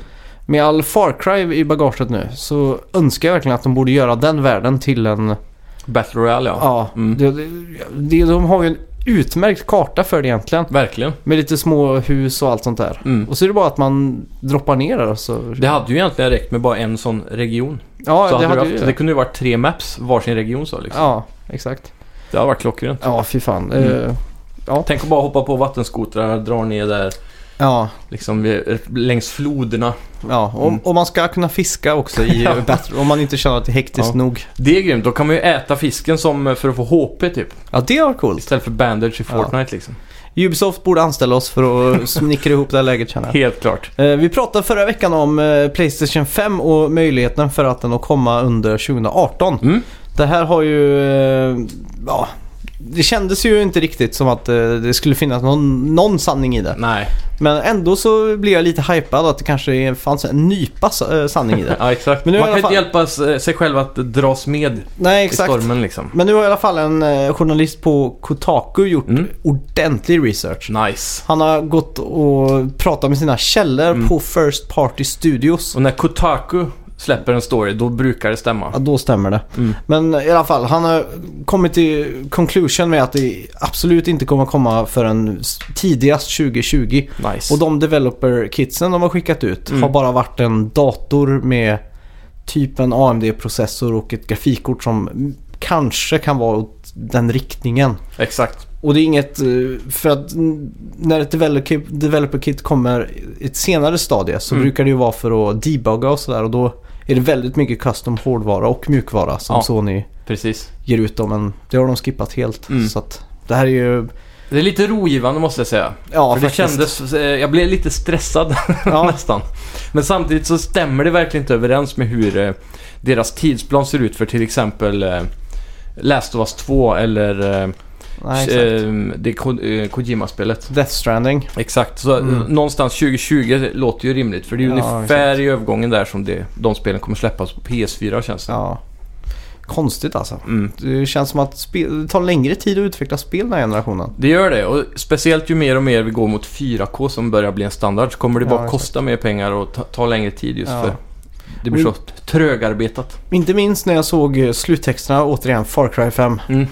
Speaker 1: Med all Far Cry i bagaget nu så önskar jag verkligen att de borde göra den världen till en...
Speaker 2: Battle Royale ja.
Speaker 1: Ja,
Speaker 2: Mm.
Speaker 1: det, det, de har ju en utmärkt karta för det egentligen.
Speaker 2: Verkligen.
Speaker 1: Med lite små hus och allt sånt där.
Speaker 2: Mm.
Speaker 1: Och så är det bara att man droppar ner där och så...
Speaker 2: Det hade ju egentligen räckt med bara en sån region.
Speaker 1: ja,
Speaker 2: så
Speaker 1: det hade
Speaker 2: du
Speaker 1: ju
Speaker 2: haft, det kunde ju varit tre maps varsin region så liksom.
Speaker 1: Ja, exakt.
Speaker 2: Det hade varit klockrent.
Speaker 1: Ja, fy fan.
Speaker 2: Mm.
Speaker 1: Eh, ja.
Speaker 2: Tänk att bara hoppa på vattenskotrar, dra ner där
Speaker 1: ja,
Speaker 2: liksom vid- längs floderna.
Speaker 1: ja. Och,
Speaker 2: Mm.
Speaker 1: och man ska kunna fiska också i eh, Battle om man inte känner att det är hektiskt
Speaker 2: Ja.
Speaker 1: nog.
Speaker 2: Det är grymt. Då kan man ju äta fisken som eh, för att få HP typ.
Speaker 1: Ja, det var coolt.
Speaker 2: Istället för bandage i
Speaker 1: Ja.
Speaker 2: Fortnite liksom.
Speaker 1: Ubisoft borde anställa oss för att snickra ihop det här läget känner jag.
Speaker 2: Helt klart.
Speaker 1: Eh, Vi pratade förra veckan om eh, Playstation 5 och möjligheten för att den att komma under 2018.
Speaker 2: Mm.
Speaker 1: Det här har ju... eh, Ja, det kändes ju inte riktigt som att eh, det skulle finnas någon, någon sanning i det.
Speaker 2: Nej.
Speaker 1: Men ändå så blev jag lite hypad att det kanske fanns en nypa sa- eh, sanning i det.
Speaker 2: Ja, exakt.
Speaker 1: Men nu
Speaker 2: man
Speaker 1: i
Speaker 2: kan
Speaker 1: alla
Speaker 2: inte hjälpa s- eh, sig själv att dras med
Speaker 1: Nej,
Speaker 2: i
Speaker 1: exakt.
Speaker 2: stormen liksom.
Speaker 1: Men nu har i alla fall en eh, journalist på Kotaku gjort
Speaker 2: Mm.
Speaker 1: ordentlig research.
Speaker 2: Nice.
Speaker 1: Han har gått och pratat med sina källor
Speaker 2: Mm.
Speaker 1: på First Party Studios.
Speaker 2: Och när Kotaku släpper en story, då brukar det
Speaker 1: Ja,
Speaker 2: stämma.
Speaker 1: då stämmer det.
Speaker 2: Mm.
Speaker 1: Men i alla fall, han har kommit till conclusion med att det absolut inte kommer komma förrän s- tidigast 2020.
Speaker 2: Nice.
Speaker 1: Och de developer kitsen de har skickat ut
Speaker 2: Mm.
Speaker 1: har bara varit en dator med typ en AMD-processor och ett grafikkort som kanske kan vara åt den riktningen.
Speaker 2: Exakt.
Speaker 1: Och det är inget, eh, för att mm, när ett developer, developer kit kommer i ett senare stadie så
Speaker 2: Mm.
Speaker 1: brukar det ju vara för att debugga och sådär och då är det väldigt mycket custom hårdvara och mjukvara som
Speaker 2: Ja.
Speaker 1: Sony
Speaker 2: Precis.
Speaker 1: ger ut dem men det har de skippat helt.
Speaker 2: Mm.
Speaker 1: Så att det här är ju,
Speaker 2: Det är lite rogivande måste jag säga.
Speaker 1: ja
Speaker 2: För det
Speaker 1: faktiskt.
Speaker 2: kändes, eh, jag blev lite stressad
Speaker 1: ja,
Speaker 2: nästan. Men samtidigt så stämmer det verkligen inte överens med hur eh, deras tidsplan ser ut för till exempel eh, Last of Us 2 eller eh,
Speaker 1: nej, exakt.
Speaker 2: eh, det Ko- eh, Kojima-spelet.
Speaker 1: Death Stranding.
Speaker 2: Exakt, så
Speaker 1: Mm.
Speaker 2: eh, någonstans 2020 låter ju rimligt för det är
Speaker 1: Ja,
Speaker 2: ungefär i övergången där som det, de spelen kommer släppas på PS4 känns det.
Speaker 1: Ja. Konstigt alltså.
Speaker 2: Mm.
Speaker 1: Det känns som att spel, det tar längre tid att utveckla spel den här generationen.
Speaker 2: Det gör det och speciellt ju mer och mer vi går mot 4K som börjar bli en standard så kommer det
Speaker 1: Ja,
Speaker 2: bara
Speaker 1: exakt.
Speaker 2: kosta mer pengar och ta, ta längre tid just
Speaker 1: Ja.
Speaker 2: för det blir så trögarbetat.
Speaker 1: Inte minst när jag såg eh, sluttexterna, återigen Far Cry 5.
Speaker 2: Mm.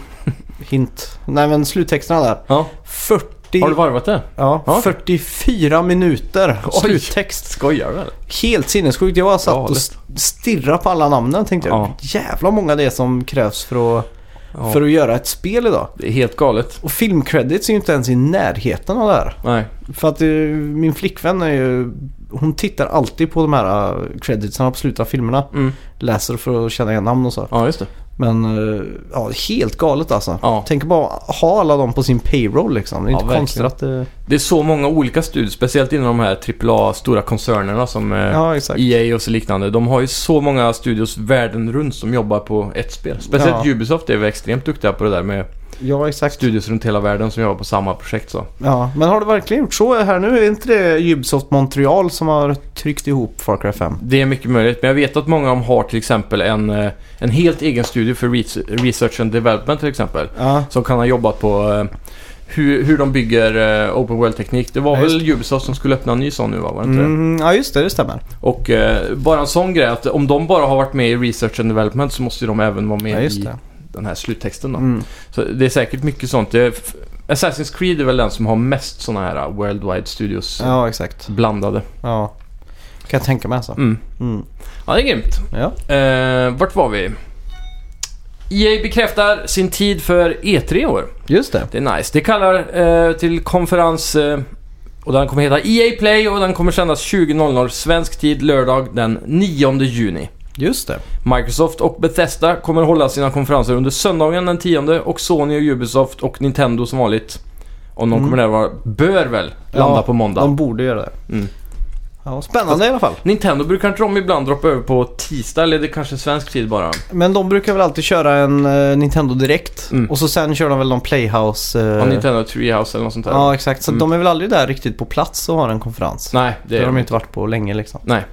Speaker 1: Hint. Nej men sluttexterna där.
Speaker 2: Ja.
Speaker 1: 40...
Speaker 2: Har du varvat det?
Speaker 1: Ja,
Speaker 2: Ja.
Speaker 1: 44 minuter
Speaker 2: Oj.
Speaker 1: sluttext.
Speaker 2: Skojar du eller?
Speaker 1: Helt sinnessjukt. Jag bara satt och
Speaker 2: Galet.
Speaker 1: s- stirrade på alla namnen tänkte jag.
Speaker 2: Ja.
Speaker 1: Jävla många det är som krävs för att,
Speaker 2: Ja.
Speaker 1: för att göra ett spel idag.
Speaker 2: Det är helt galet.
Speaker 1: Och filmcredits är ju inte ens i närheten av det här.
Speaker 2: Nej.
Speaker 1: För att eh, min flickvän är ju... Hon tittar alltid på de här eh, creditsarna på slutet av filmerna.
Speaker 2: Mm.
Speaker 1: Läser för att känna igen namn och så.
Speaker 2: Ja, just det.
Speaker 1: Men eh, ja, helt galet alltså.
Speaker 2: Ja.
Speaker 1: Tänk bara ha alla dem på sin payroll liksom. Det är
Speaker 2: Ja,
Speaker 1: inte
Speaker 2: verkligen.
Speaker 1: konstigt att det...
Speaker 2: Det är så många olika studier, speciellt inom de här AAA stora koncernerna som eh,
Speaker 1: Ja, exakt.
Speaker 2: EA och så liknande. De har ju så många studios världen runt som jobbar på ett spel. Speciellt
Speaker 1: Ja.
Speaker 2: Ubisoft är väl extremt duktiga på det där med
Speaker 1: Ja, exakt.
Speaker 2: studios runt hela världen som jobbar på samma projekt. Så.
Speaker 1: Ja, men har det verkligen gjort så här nu? Är inte det Ubisoft Montreal som har tryckt ihop Far Cry 5?
Speaker 2: Det är mycket möjligt, men jag vet att många av dem har till exempel en, eh, en helt egen studio för res- Research and Development till exempel.
Speaker 1: Ja,
Speaker 2: Som kan ha jobbat på eh, hur, hur de bygger eh, Open World-teknik. Det var
Speaker 1: Ja, just
Speaker 2: väl Ubisoft som skulle öppna en ny sån nu va? Var det inte det?
Speaker 1: mm, ja just det. Det stämmer.
Speaker 2: Och eh, bara en sån grej att om de bara har varit med i Research and Development så måste ju de även vara
Speaker 1: Ja,
Speaker 2: med
Speaker 1: just
Speaker 2: i
Speaker 1: det.
Speaker 2: den här sluttexten då.
Speaker 1: Mm.
Speaker 2: Så det är säkert mycket sånt. Det är, f- Assassin's Creed är väl den som har mest såna här eh, Worldwide Studios
Speaker 1: Ja, exakt.
Speaker 2: blandade.
Speaker 1: Ja. Kan jag tänka mig alltså.
Speaker 2: Mm.
Speaker 1: Mm.
Speaker 2: Ja, det är grymt.
Speaker 1: Ja.
Speaker 2: Eh, vart var vi? EA bekräftar sin tid för E3 i år.
Speaker 1: Just det.
Speaker 2: Det är nice. Det kallar eh, till konferens eh, och den kommer heta EA Play och den kommer sändas 20.00 svensk tid lördag den 9 juni.
Speaker 1: Just det.
Speaker 2: Microsoft och Bethesda kommer hålla sina konferenser under söndagen den 10 och Sony och Ubisoft och Nintendo som vanligt. Om de
Speaker 1: Mm.
Speaker 2: kommer närvara bör väl landa
Speaker 1: Ja,
Speaker 2: på måndag.
Speaker 1: De borde göra det.
Speaker 2: Mm.
Speaker 1: Ja, spännande i alla fall.
Speaker 2: Nintendo brukar inte de ibland droppa över på tisdag eller det kanske är svensk tid bara.
Speaker 1: Men de brukar väl alltid köra en eh, Nintendo direkt
Speaker 2: Mm.
Speaker 1: och så sen kör de väl någon Playhouse. eh,
Speaker 2: På Nintendo Treehouse eller något sånt där.
Speaker 1: ja, exakt. Så
Speaker 2: Mm.
Speaker 1: de är väl aldrig där riktigt på plats och har en konferens.
Speaker 2: Nej,
Speaker 1: Det,
Speaker 2: det är
Speaker 1: har
Speaker 2: de
Speaker 1: de
Speaker 2: inte.
Speaker 1: inte varit på länge liksom.
Speaker 2: Nej.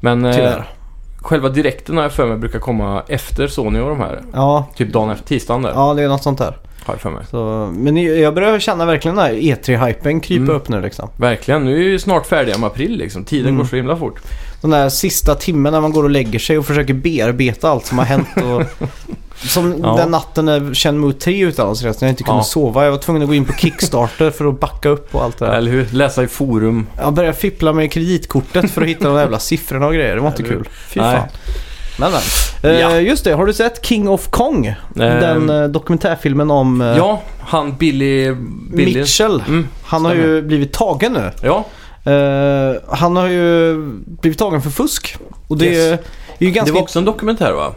Speaker 2: Men eh,
Speaker 1: Tyvärr.
Speaker 2: själva direkten har jag för mig brukar komma efter Sony och de här.
Speaker 1: Ja,
Speaker 2: Typ dagen efter tisdagen där.
Speaker 1: ja, det är något sånt där.
Speaker 2: Har jag för mig.
Speaker 1: Så, men jag börjar känna verkligen den här E3-hypen krypa
Speaker 2: Mm.
Speaker 1: upp nu liksom.
Speaker 2: Verkligen, nu är ju snart färdiga med april liksom. Tiden
Speaker 1: Mm.
Speaker 2: går så himla fort.
Speaker 1: Den där sista timmen när man går och lägger sig och försöker bearbeta allt som har hänt. Och, som
Speaker 2: Ja.
Speaker 1: den natten när Chen Mu 3 utannonserades när jag inte kunde
Speaker 2: Ja.
Speaker 1: sova. Jag var tvungen att gå in på Kickstarter för att backa upp och allt det där.
Speaker 2: Eller hur? Läsa i forum.
Speaker 1: Jag började fippla med kreditkortet för att hitta de där jävla siffrorna och grejer. Det var inte
Speaker 2: Eller hur?
Speaker 1: kul. Fy
Speaker 2: Nej.
Speaker 1: fan. Men, men. Eh,
Speaker 2: Ja.
Speaker 1: Just det, har du sett King of Kong? Den eh, dokumentärfilmen om eh,
Speaker 2: Ja, han Billy... Billy.
Speaker 1: Mitchell.
Speaker 2: Mm,
Speaker 1: Han har ju blivit tagen nu.
Speaker 2: ja,
Speaker 1: Eh, han har ju blivit tagen för fusk. Och det
Speaker 2: Yes.
Speaker 1: är ju
Speaker 2: det
Speaker 1: ganska...
Speaker 2: var också en dokumentär va?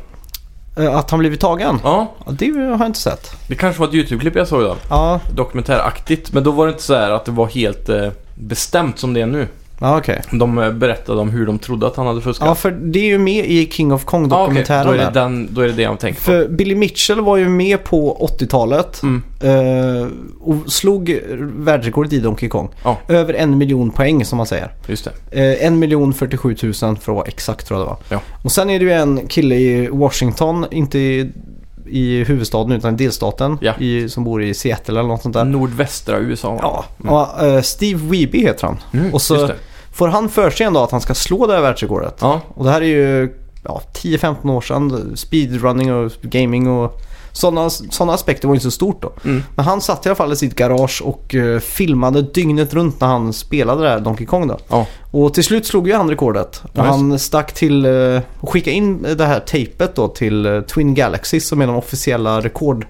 Speaker 1: eh, Att han blivit tagen.
Speaker 2: Ja,
Speaker 1: Ja, Det har jag inte sett.
Speaker 2: det kanske var ett YouTube-klipp jag såg då.
Speaker 1: Ja,
Speaker 2: Dokumentäraktigt, men då var det inte så här att det var helt eh, bestämt som det är nu.
Speaker 1: ja okej.
Speaker 2: De eh, berättade om hur de trodde att han hade fuskat.
Speaker 1: Ja, för det är ju med i King of
Speaker 2: Ja, okej.
Speaker 1: Kong-dokumentären
Speaker 2: då, är det
Speaker 1: där.
Speaker 2: den, då är det det jag tänker på.
Speaker 1: För Billy Mitchell var ju med på 80-talet
Speaker 2: Mm.
Speaker 1: eh, och slog världsrekordet i Donkey Kong.
Speaker 2: Ja.
Speaker 1: Över en miljon poäng som man säger.
Speaker 2: Just det.
Speaker 1: Eh, en miljon 47 000 för att vara exakt tror jag det var.
Speaker 2: Ja.
Speaker 1: Och sen är det ju en kille i Washington, inte i, i huvudstaden utan i delstaten,
Speaker 2: Ja. Mm.
Speaker 1: i, som bor i Seattle eller något sånt där.
Speaker 2: Nordvästra USA va?
Speaker 1: Ja, och, eh, Steve Wiebe heter han.
Speaker 2: Mm,
Speaker 1: och så-
Speaker 2: Just det.
Speaker 1: Får han för sig en dag att han ska slå det här världsrekordet?
Speaker 2: Ja,
Speaker 1: Och det här är ju ja, 10-15 år sedan. Speedrunning och gaming och sådana såna aspekter var ju inte så stort då.
Speaker 2: mm.
Speaker 1: Men han satt i alla fall i sitt garage och eh, filmade dygnet runt när han spelade det här Donkey Kong då.
Speaker 2: Ja.
Speaker 1: Och till slut slog ju han rekordet. Och
Speaker 2: Ja, just.
Speaker 1: han stack till eh, och skickade in det här tejpet då till eh, Twin Galaxies som är de officiella rekord...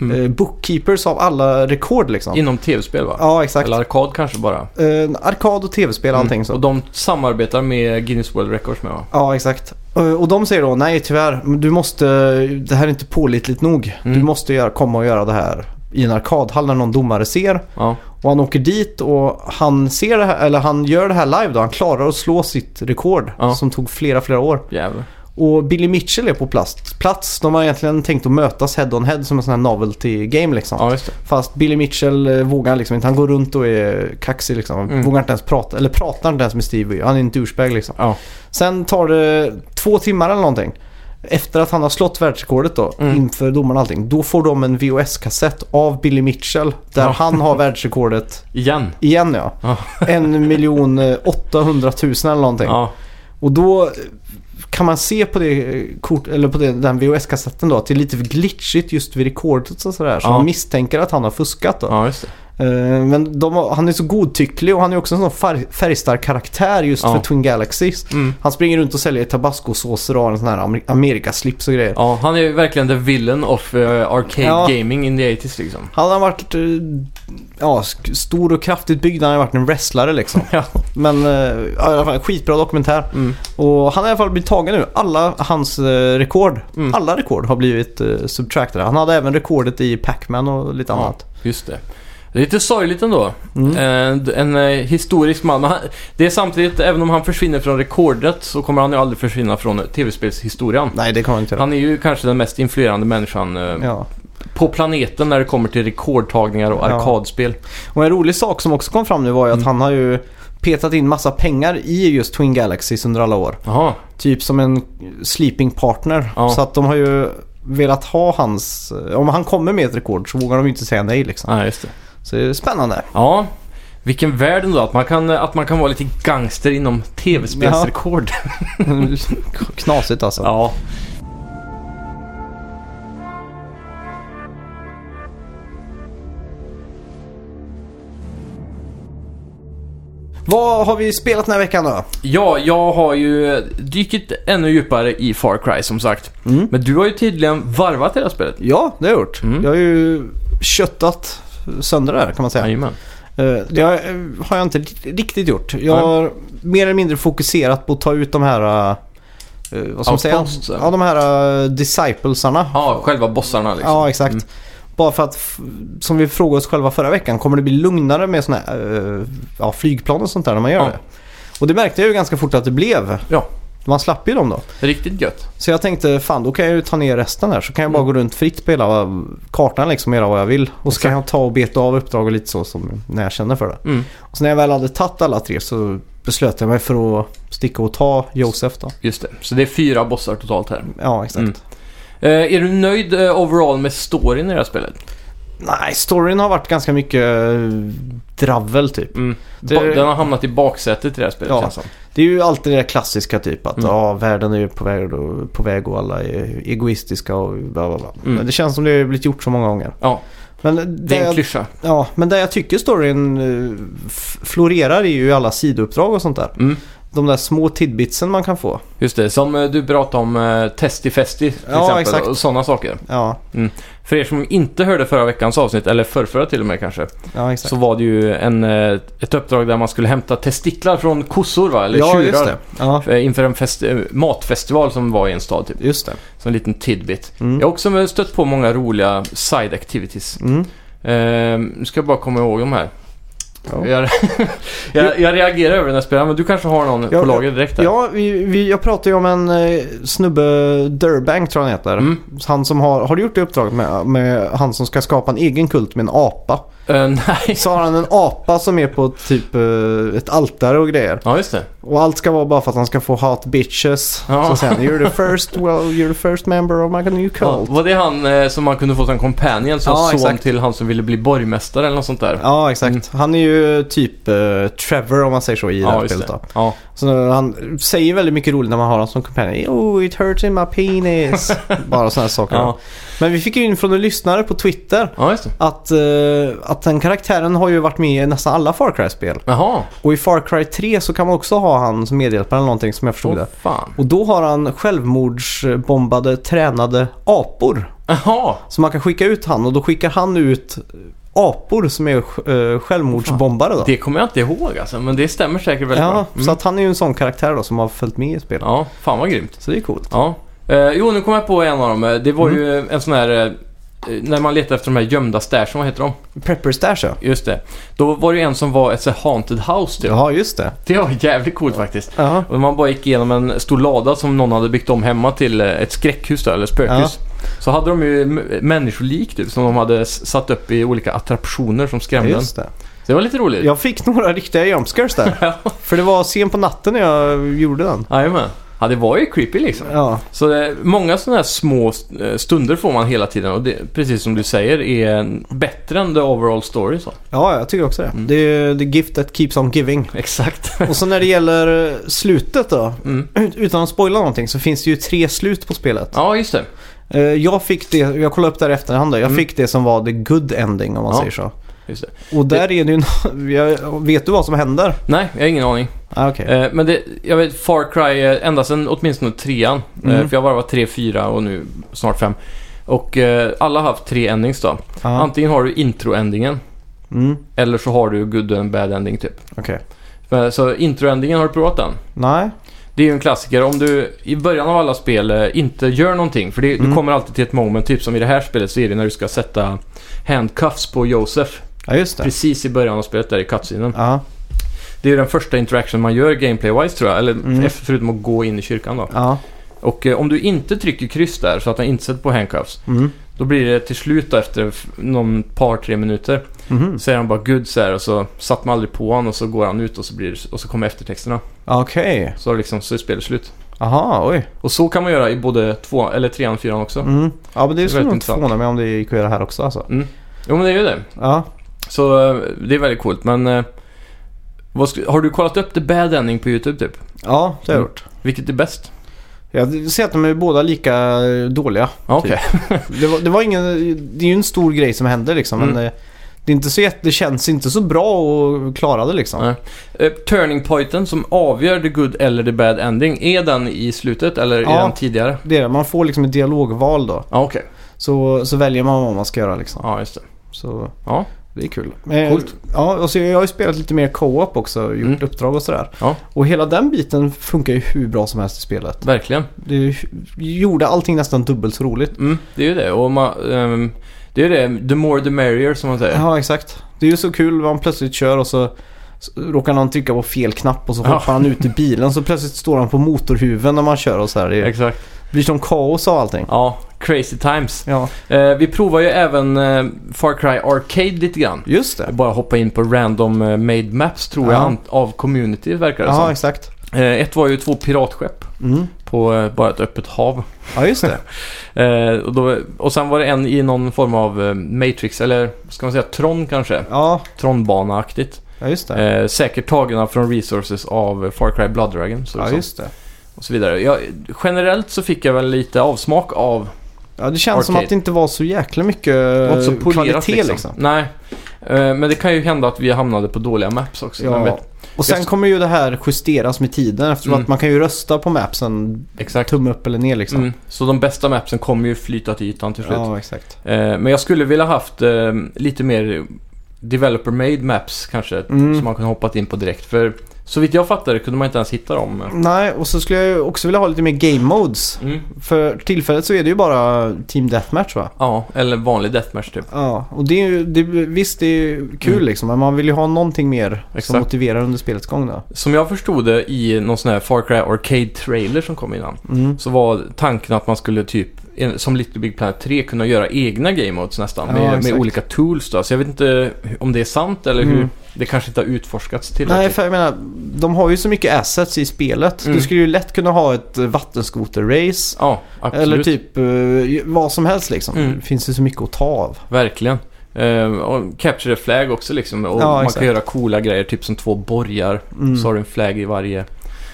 Speaker 2: Mm.
Speaker 1: Eh, bookkeepers av alla rekord liksom.
Speaker 2: inom tv-spel va?
Speaker 1: ja, exakt.
Speaker 2: Eller arkad kanske bara.
Speaker 1: Eh, arkad och tv-spel och allting så.
Speaker 2: Och de samarbetar med Guinness World Records med va?
Speaker 1: Ja, exakt. Eh, Och de säger då nej tyvärr, men du måste, det här är inte pålitligt nog.
Speaker 2: Mm.
Speaker 1: Du måste göra, komma och göra det här i en arkadhall när någon domare ser.
Speaker 2: Ja.
Speaker 1: Och han åker dit och han ser det här, eller han gör det här live då. Han klarar att slå sitt rekord
Speaker 2: Ja.
Speaker 1: som tog flera, flera år.
Speaker 2: Jävlar.
Speaker 1: Och Billy Mitchell är på plats. plats. De har egentligen tänkt att mötas head on head som en sån här novelty game liksom.
Speaker 2: Ja, just det.
Speaker 1: Fast Billy Mitchell eh, vågar liksom inte. Han går runt och är kaxig liksom.
Speaker 2: Mm.
Speaker 1: Vågar inte ens prata, eller pratar inte ens med Stevie. Han är en douchebag liksom.
Speaker 2: Ja.
Speaker 1: Sen tar det två timmar eller någonting. Efter att han har slått världsrekordet då
Speaker 2: Mm.
Speaker 1: inför domarna och allting. Då får de en VHS-kassett av Billy Mitchell. Där
Speaker 2: Ja.
Speaker 1: han har världsrekordet
Speaker 2: Igen.
Speaker 1: igen ja.
Speaker 2: Ja.
Speaker 1: En miljon eh, 800 000 eller någonting.
Speaker 2: Ja.
Speaker 1: Och då eh, kan man se på det eh, kort, eller på det, den VHS-kassetten då att det är lite glitchigt just vid rekordet och sådär. Så
Speaker 2: Ja.
Speaker 1: man misstänker att han har fuskat då.
Speaker 2: ja, just det.
Speaker 1: Eh, Men de, har- han är så godtycklig och han är också en sån färg, färgstark karaktär just
Speaker 2: Ja.
Speaker 1: för Twin Galaxies.
Speaker 2: Mm.
Speaker 1: Han springer runt och säljer tabascosåser och har en sån här Amer- Amerikaslips och grejer.
Speaker 2: Ja, han är ju verkligen the villain of eh, arcade
Speaker 1: Ja.
Speaker 2: gaming in the 80s liksom.
Speaker 1: Han har varit eh, ja, sk- stor och kraftigt byggd. Han har varit en wrestlare liksom.
Speaker 2: Ja.
Speaker 1: Men eh, ja, i alla fall, skitbra dokumentär.
Speaker 2: Mm.
Speaker 1: Och han har i alla fall blivit tagen nu. Alla hans eh, rekord,
Speaker 2: Mm.
Speaker 1: alla rekord har blivit eh, subtractade. Han hade även rekordet i Pac-Man och lite
Speaker 2: Ja.
Speaker 1: annat.
Speaker 2: Just det. Det är lite sorgligt ändå.
Speaker 1: Mm.
Speaker 2: En, en eh, historisk man. Men han, det är samtidigt, även om han försvinner från rekordet så kommer han ju aldrig försvinna från tv-spelshistorien.
Speaker 1: Nej, det kan man inte göra.
Speaker 2: Han är ju kanske den mest influerande människan eh,
Speaker 1: Ja.
Speaker 2: på planeten när det kommer till rekordtagningar och
Speaker 1: Ja.
Speaker 2: arkadspel.
Speaker 1: Och en rolig sak som också kom fram nu var ju att
Speaker 2: Mm.
Speaker 1: han har ju petat in massa pengar i just Twin Galaxies under alla år.
Speaker 2: Jaha,
Speaker 1: Typ som en sleeping partner.
Speaker 2: Ja.
Speaker 1: Så att de har ju velat ha hans... eh, Om han kommer med ett rekord så vågar de ju inte säga nej liksom.
Speaker 2: nej just det.
Speaker 1: Så det är spännande.
Speaker 2: Ja, vilken värld ändå att man kan, eh, att man kan vara lite gangster inom tv-spelsrekord.
Speaker 1: Knasigt alltså.
Speaker 2: Ja.
Speaker 1: Vad har vi spelat den här veckan då?
Speaker 2: ja, jag har ju dykit ännu djupare i Far Cry som sagt.
Speaker 1: Mm.
Speaker 2: Men du har ju tydligen varvat hela spelet.
Speaker 1: Ja, det har jag gjort.
Speaker 2: Mm.
Speaker 1: Jag har ju köttat sönder det här kan man säga.
Speaker 2: Jajamän.
Speaker 1: Eh, Det har- eh, har jag inte ri- riktigt gjort. Jag har mer eller mindre fokuserat på att ta ut de här... eh, Vad ska man säga?
Speaker 2: Outposts, eller?
Speaker 1: Ja, de här eh, disciplesarna.
Speaker 2: Ja, själva bossarna liksom.
Speaker 1: Ja, exakt.
Speaker 2: Mm.
Speaker 1: Bara för att, f- som vi frågade oss själva förra veckan, kommer det bli lugnare med såna här, eh, ja, flygplan och sånt där när man gör
Speaker 2: Ja.
Speaker 1: det? Och det märkte jag ju ganska fort att det blev.
Speaker 2: Ja.
Speaker 1: Man slapp ju dem då.
Speaker 2: Riktigt gött.
Speaker 1: Så jag tänkte, fan då kan jag ju ta ner resten här. Så kan jag
Speaker 2: Mm.
Speaker 1: bara gå runt fritt på hela kartan liksom, och göra vad jag vill. Och så kan jag ta och beta av uppdrag och lite så som när jag känner för det.
Speaker 2: Mm.
Speaker 1: Och så när jag väl hade tagit alla tre så beslöt jag mig för att sticka och ta Josef då.
Speaker 2: Just det. Så det är fyra bossar totalt här.
Speaker 1: Ja, exakt.
Speaker 2: Mm. Eh, är du nöjd eh, overall med storyn i det här spelet?
Speaker 1: Nej, storyn har varit ganska mycket eh, dravel typ.
Speaker 2: Ba-
Speaker 1: Det-
Speaker 2: Den har hamnat i baksätet i det här spelet
Speaker 1: Ja.
Speaker 2: känns som.
Speaker 1: Det är ju alltid det där klassiska typ att
Speaker 2: Mm.
Speaker 1: ja, världen är ju på väg, och, på väg och alla är egoistiska och bla bla bla.
Speaker 2: Mm.
Speaker 1: Men det känns som det har blivit gjort så många gånger.
Speaker 2: Ja,
Speaker 1: Men
Speaker 2: det
Speaker 1: det,
Speaker 2: är en
Speaker 1: jag,
Speaker 2: klyscha.
Speaker 1: ja, men det jag tycker storyn eh, f- florerar är ju alla sidouppdrag och sånt där.
Speaker 2: Mm.
Speaker 1: De där små tidbitsen man kan få.
Speaker 2: Just det, som eh, du pratade om eh, Testi Festi till
Speaker 1: Ja,
Speaker 2: exempel
Speaker 1: exakt.
Speaker 2: och sådana saker.
Speaker 1: Ja,
Speaker 2: För er som inte hörde förra veckans avsnitt, eller förrförra till och med kanske,
Speaker 1: ja exakt.
Speaker 2: så var det ju en, eh, ett uppdrag där man skulle hämta testiklar från kossor va? Eller
Speaker 1: ja,
Speaker 2: tjurar.
Speaker 1: just det. Ja,
Speaker 2: Eh, Inför en fest, eh, matfestival som var i en stad typ.
Speaker 1: just det.
Speaker 2: Som en liten tidbit.
Speaker 1: Mm.
Speaker 2: Jag har också stött på många roliga side activities.
Speaker 1: Mm.
Speaker 2: Eh, Nu ska jag bara komma ihåg de här.
Speaker 1: Ja.
Speaker 2: Jag, jag, jag reagerar över den här spelaren, men du kanske har någon
Speaker 1: Ja,
Speaker 2: på lager direkt där?
Speaker 1: Ja, vi, vi, jag pratade ju om en eh, snubbe, Durbank tror jag han heter.
Speaker 2: Mm.
Speaker 1: Han som har, har du gjort det uppdraget med, med han som ska skapa en egen kult med en apa?
Speaker 2: Eh, nej.
Speaker 1: Så har han en apa som är på typ eh, ett altare och grejer.
Speaker 2: Ja, just det.
Speaker 1: Och allt ska vara bara för att han ska få hot bitches.
Speaker 2: Ja.
Speaker 1: Så säger han “You're the first, well, you're the first member of my new
Speaker 2: Ja,
Speaker 1: cult”.
Speaker 2: var det han eh, som man kunde få som companion, som
Speaker 1: Ja,
Speaker 2: son
Speaker 1: exakt.
Speaker 2: till han som ville bli borgmästare eller något sånt där?
Speaker 1: Ja, exakt. Han är ju typ eh, Trevor om man säger så i det här
Speaker 2: just
Speaker 1: spelet
Speaker 2: det.
Speaker 1: då.
Speaker 2: Mm. Ja.
Speaker 1: Så han säger väldigt mycket roligt när man har honom som companion. “Oh, it hurts in my penis”. bara sådana här saker.
Speaker 2: Ja.
Speaker 1: Men vi fick ju in från en lyssnare på Twitter
Speaker 2: ja, just det.
Speaker 1: att, eh, att den karaktären har ju varit med i nästan alla Far Cry-spel.
Speaker 2: Jaha,
Speaker 1: Och i Far Cry 3 så kan man också ha han som medhjälpare eller någonting som jag förstod
Speaker 2: åh
Speaker 1: det.
Speaker 2: fan.
Speaker 1: Och då har han självmordsbombade tränade apor.
Speaker 2: Jaha,
Speaker 1: Så man kan skicka ut han och då skickar han ut apor som är eh, självmordsbombare då.
Speaker 2: det kommer jag inte ihåg alltså, men det stämmer säkert väldigt
Speaker 1: Ja,
Speaker 2: bra. Mm.
Speaker 1: så att han är ju en sån karaktär då som har följt med i spelet.
Speaker 2: Ja, fan vad grymt.
Speaker 1: Så det är coolt.
Speaker 2: Ja. Eh, jo, nu kom jag på en av dem. Eh, Det var
Speaker 1: Mm.
Speaker 2: ju en sån här... eh, När man letar efter de här gömda stashen, vad heter de?
Speaker 1: Prepper Stash ja.
Speaker 2: Just det. Då var det ju en som var ett så här haunted house typ.
Speaker 1: Ja, just det.
Speaker 2: Det var jävligt coolt faktiskt.
Speaker 1: Ja,
Speaker 2: Och man bara gick igenom en stor lada som någon hade byggt om hemma till eh, ett skräckhus där, eller spökhus. Så hade de ju m- människolik typ, som de hade s- satt upp i olika attraktioner som skrämde en. Så
Speaker 1: just det.
Speaker 2: det var lite roligt.
Speaker 1: Jag fick några riktiga jumpscares där. För det var sen på natten när jag gjorde den.
Speaker 2: Jajamän. Ja, det var ju creepy liksom.
Speaker 1: Ja,
Speaker 2: Så eh, många sådana här små st- eh, stunder får man hela tiden och det, precis som du säger, är en- bättre än the overall story. Så.
Speaker 1: ja jag tycker också det.
Speaker 2: Mm.
Speaker 1: Det är the gift that keeps on giving.
Speaker 2: Exakt.
Speaker 1: Och så när det gäller eh, slutet då.
Speaker 2: Mm.
Speaker 1: Ut- Utan att spoila någonting så finns det ju tre slut på spelet.
Speaker 2: Ja, just det.
Speaker 1: Eh, Jag fick det, jag kollade upp det här i efterhand då. Jag
Speaker 2: Mm.
Speaker 1: fick det som var the good ending om man
Speaker 2: Ja.
Speaker 1: säger så.
Speaker 2: Just det.
Speaker 1: Och där är det ju, nå- jag- vet du vad som händer?
Speaker 2: Nej, jag har ingen aning.
Speaker 1: Ah, okej.
Speaker 2: Eh, men det, jag vet Far Cry, eh, ända sedan åtminstone trean. Eh,
Speaker 1: Mm.
Speaker 2: för jag har varvat tre, fyra och nu snart fem. Och eh, alla har haft tre endings då.
Speaker 1: Ja.
Speaker 2: Antingen har du intro-endingen.
Speaker 1: Ah. Mm,
Speaker 2: Eller så har du good and bad ending typ.
Speaker 1: okej.
Speaker 2: För- Så introendingen, har du provat den?
Speaker 1: Nej.
Speaker 2: Det är ju en klassiker. Om du i början av alla spel eh, inte gör någonting. För det, du
Speaker 1: Mm.
Speaker 2: kommer alltid till ett moment, typ som i det här spelet, så är det när du ska sätta handcuffs på Josef.
Speaker 1: Ja, just det. Ah,
Speaker 2: Precis i början av spelet där i cutscenen.
Speaker 1: Ja,
Speaker 2: Det är ju den första interaction man gör gameplay-wise tror jag. Eller
Speaker 1: Mm.
Speaker 2: f- förutom att gå in i kyrkan då.
Speaker 1: ja.
Speaker 2: Och eh, om du inte trycker kryss där så att den inte sätter på handcuffs.
Speaker 1: Mm.
Speaker 2: Då blir det till slut då, efter f- någon par, tre minuter.
Speaker 1: Mhm.
Speaker 2: Så är han bara good så här och så satt man aldrig på honom och så går han ut och så, blir, det- och så kommer eftertexterna.
Speaker 1: Okej.
Speaker 2: Så, har det liksom, så är spelet slut.
Speaker 1: Aha, oj.
Speaker 2: Och så kan man göra i både två, eller trean och fyran också.
Speaker 1: Mm. Ja, men det skulle
Speaker 2: är väldigt
Speaker 1: nog inte
Speaker 2: intressant.
Speaker 1: förvåna mig om det gick att göra här också alltså.
Speaker 2: Jo men det är ju det.
Speaker 1: Ja.
Speaker 2: Så eh, det är väldigt coolt men... eh, Vad sk- har du kollat upp The Bad Ending på YouTube typ?
Speaker 1: Ja, det har jag
Speaker 2: Mm.
Speaker 1: gjort.
Speaker 2: Vilket är bäst?
Speaker 1: Jag ser att de är båda lika eh, dåliga.
Speaker 2: Ja, Okej.
Speaker 1: Det, var, det, var ingen, det är ju en stor grej som hände liksom. Men
Speaker 2: Mm.
Speaker 1: eh, det, är inte så, jätte- det känns inte så bra att klara det liksom.
Speaker 2: Nej. Eh, Turning pointen som avgör the good eller the bad ending, är den i slutet eller är
Speaker 1: Ja.
Speaker 2: den tidigare?
Speaker 1: Det är, det. man får liksom ett dialogval då.
Speaker 2: Ja, okej.
Speaker 1: Så, så väljer man vad man ska göra liksom.
Speaker 2: Ja, just det.
Speaker 1: Så
Speaker 2: Ja.
Speaker 1: det är kul. Eh,
Speaker 2: Coolt.
Speaker 1: Ja, och så jag har ju spelat lite mer co-op också. Gjort
Speaker 2: Mm.
Speaker 1: uppdrag och sådär.
Speaker 2: Ja.
Speaker 1: Och hela den biten funkar ju hur bra som helst i spelet.
Speaker 2: Verkligen.
Speaker 1: Det gjorde allting nästan dubbelt så roligt.
Speaker 2: Mm, det är ju det. Och man, ehm, det är ju det, the more the merrier som man säger.
Speaker 1: Ja, exakt. Det är ju så kul vad man plötsligt kör och så så råkar någon trycka på fel knapp och så
Speaker 2: Ja.
Speaker 1: hoppar han ut i bilen så plötsligt står han på motorhuven när man kör och så här. Det
Speaker 2: Exakt.
Speaker 1: blir som kaos av allting.
Speaker 2: Ja, crazy times.
Speaker 1: Ja,
Speaker 2: Eh, vi provar ju även eh, Far Cry Arcade lite grann.
Speaker 1: just
Speaker 2: Jag
Speaker 1: det.
Speaker 2: bara hoppa in på random eh, made maps tror jag
Speaker 1: Ja.
Speaker 2: an- av community verkar det
Speaker 1: Ja,
Speaker 2: som.
Speaker 1: exakt.
Speaker 2: Eh, ett var ju två piratskepp
Speaker 1: Mm.
Speaker 2: på eh, bara ett öppet hav.
Speaker 1: Ja, just det.
Speaker 2: Eh, och, då, och sen var det en i någon form av eh, Matrix eller ska man säga Tron kanske?
Speaker 1: Ja,
Speaker 2: Tronbana-aktigt.
Speaker 1: ja just det.
Speaker 2: Eh, säkert tagna från resources av eh, Far Cry Blood Dragon. Så det
Speaker 1: Ja,
Speaker 2: så.
Speaker 1: just det.
Speaker 2: och så vidare. Jag, generellt så fick jag väl lite avsmak av...
Speaker 1: Ja, det känns som
Speaker 2: Arcade.
Speaker 1: att det inte var så jäkla mycket
Speaker 2: Det var inte så polerat
Speaker 1: Eh, kvalitet liksom.
Speaker 2: Nej. Eh, men det kan ju hända att vi hamnade på dåliga maps också. Vem
Speaker 1: Ja.
Speaker 2: vet?
Speaker 1: Och sen
Speaker 2: Just-
Speaker 1: kommer ju det här justeras med tiden eftersom
Speaker 2: Mm.
Speaker 1: att man kan ju rösta på mapsen
Speaker 2: Exakt.
Speaker 1: tumme upp eller ner liksom.
Speaker 2: Mm. Så de bästa mapsen kommer ju flyta till ytan till slut.
Speaker 1: Ja, exakt.
Speaker 2: Eh, men jag skulle vilja haft eh, lite mer developer made maps kanske.
Speaker 1: Mm.
Speaker 2: Som man kunde hoppat in på direkt. För så vitt jag fattade kunde man inte ens hitta dem.
Speaker 1: Nej, och så skulle jag ju också vilja ha lite mer game modes.
Speaker 2: Mm.
Speaker 1: För tillfället så är det ju bara Team Deathmatch va?
Speaker 2: Ja, eller vanlig deathmatch typ.
Speaker 1: Ja, och det är ju, det, visst det är ju kul
Speaker 2: Mm.
Speaker 1: liksom, men man vill ju ha någonting mer som
Speaker 2: Exakt.
Speaker 1: motiverar under spelets gång då.
Speaker 2: Som jag förstod det i någon sån här Far Cry Arcade trailer som kom innan.
Speaker 1: Mm.
Speaker 2: Så var tanken att man skulle typ, en- som Little Big Planet 3, kunna göra egna game modes nästan.
Speaker 1: Ja,
Speaker 2: med, med
Speaker 1: exakt.
Speaker 2: olika tools då. Så jag vet inte om det är sant eller hur.
Speaker 1: Mm.
Speaker 2: Det kanske inte har utforskats
Speaker 1: Nej,
Speaker 2: tillräckligt.
Speaker 1: för jag menar, de har ju så mycket assets i spelet.
Speaker 2: Mm.
Speaker 1: Du skulle ju lätt kunna ha ett eh, vattenskoter-race.
Speaker 2: Ja, absolut.
Speaker 1: Eller typ eh, vad som helst liksom.
Speaker 2: Mm.
Speaker 1: Det finns ju så mycket att ta av.
Speaker 2: Verkligen. Eh, och capture the flag också liksom. Och
Speaker 1: Ja,
Speaker 2: man
Speaker 1: exakt.
Speaker 2: kan göra coola grejer, typ som två borgar.
Speaker 1: Mm,
Speaker 2: Så har du en flag i varje.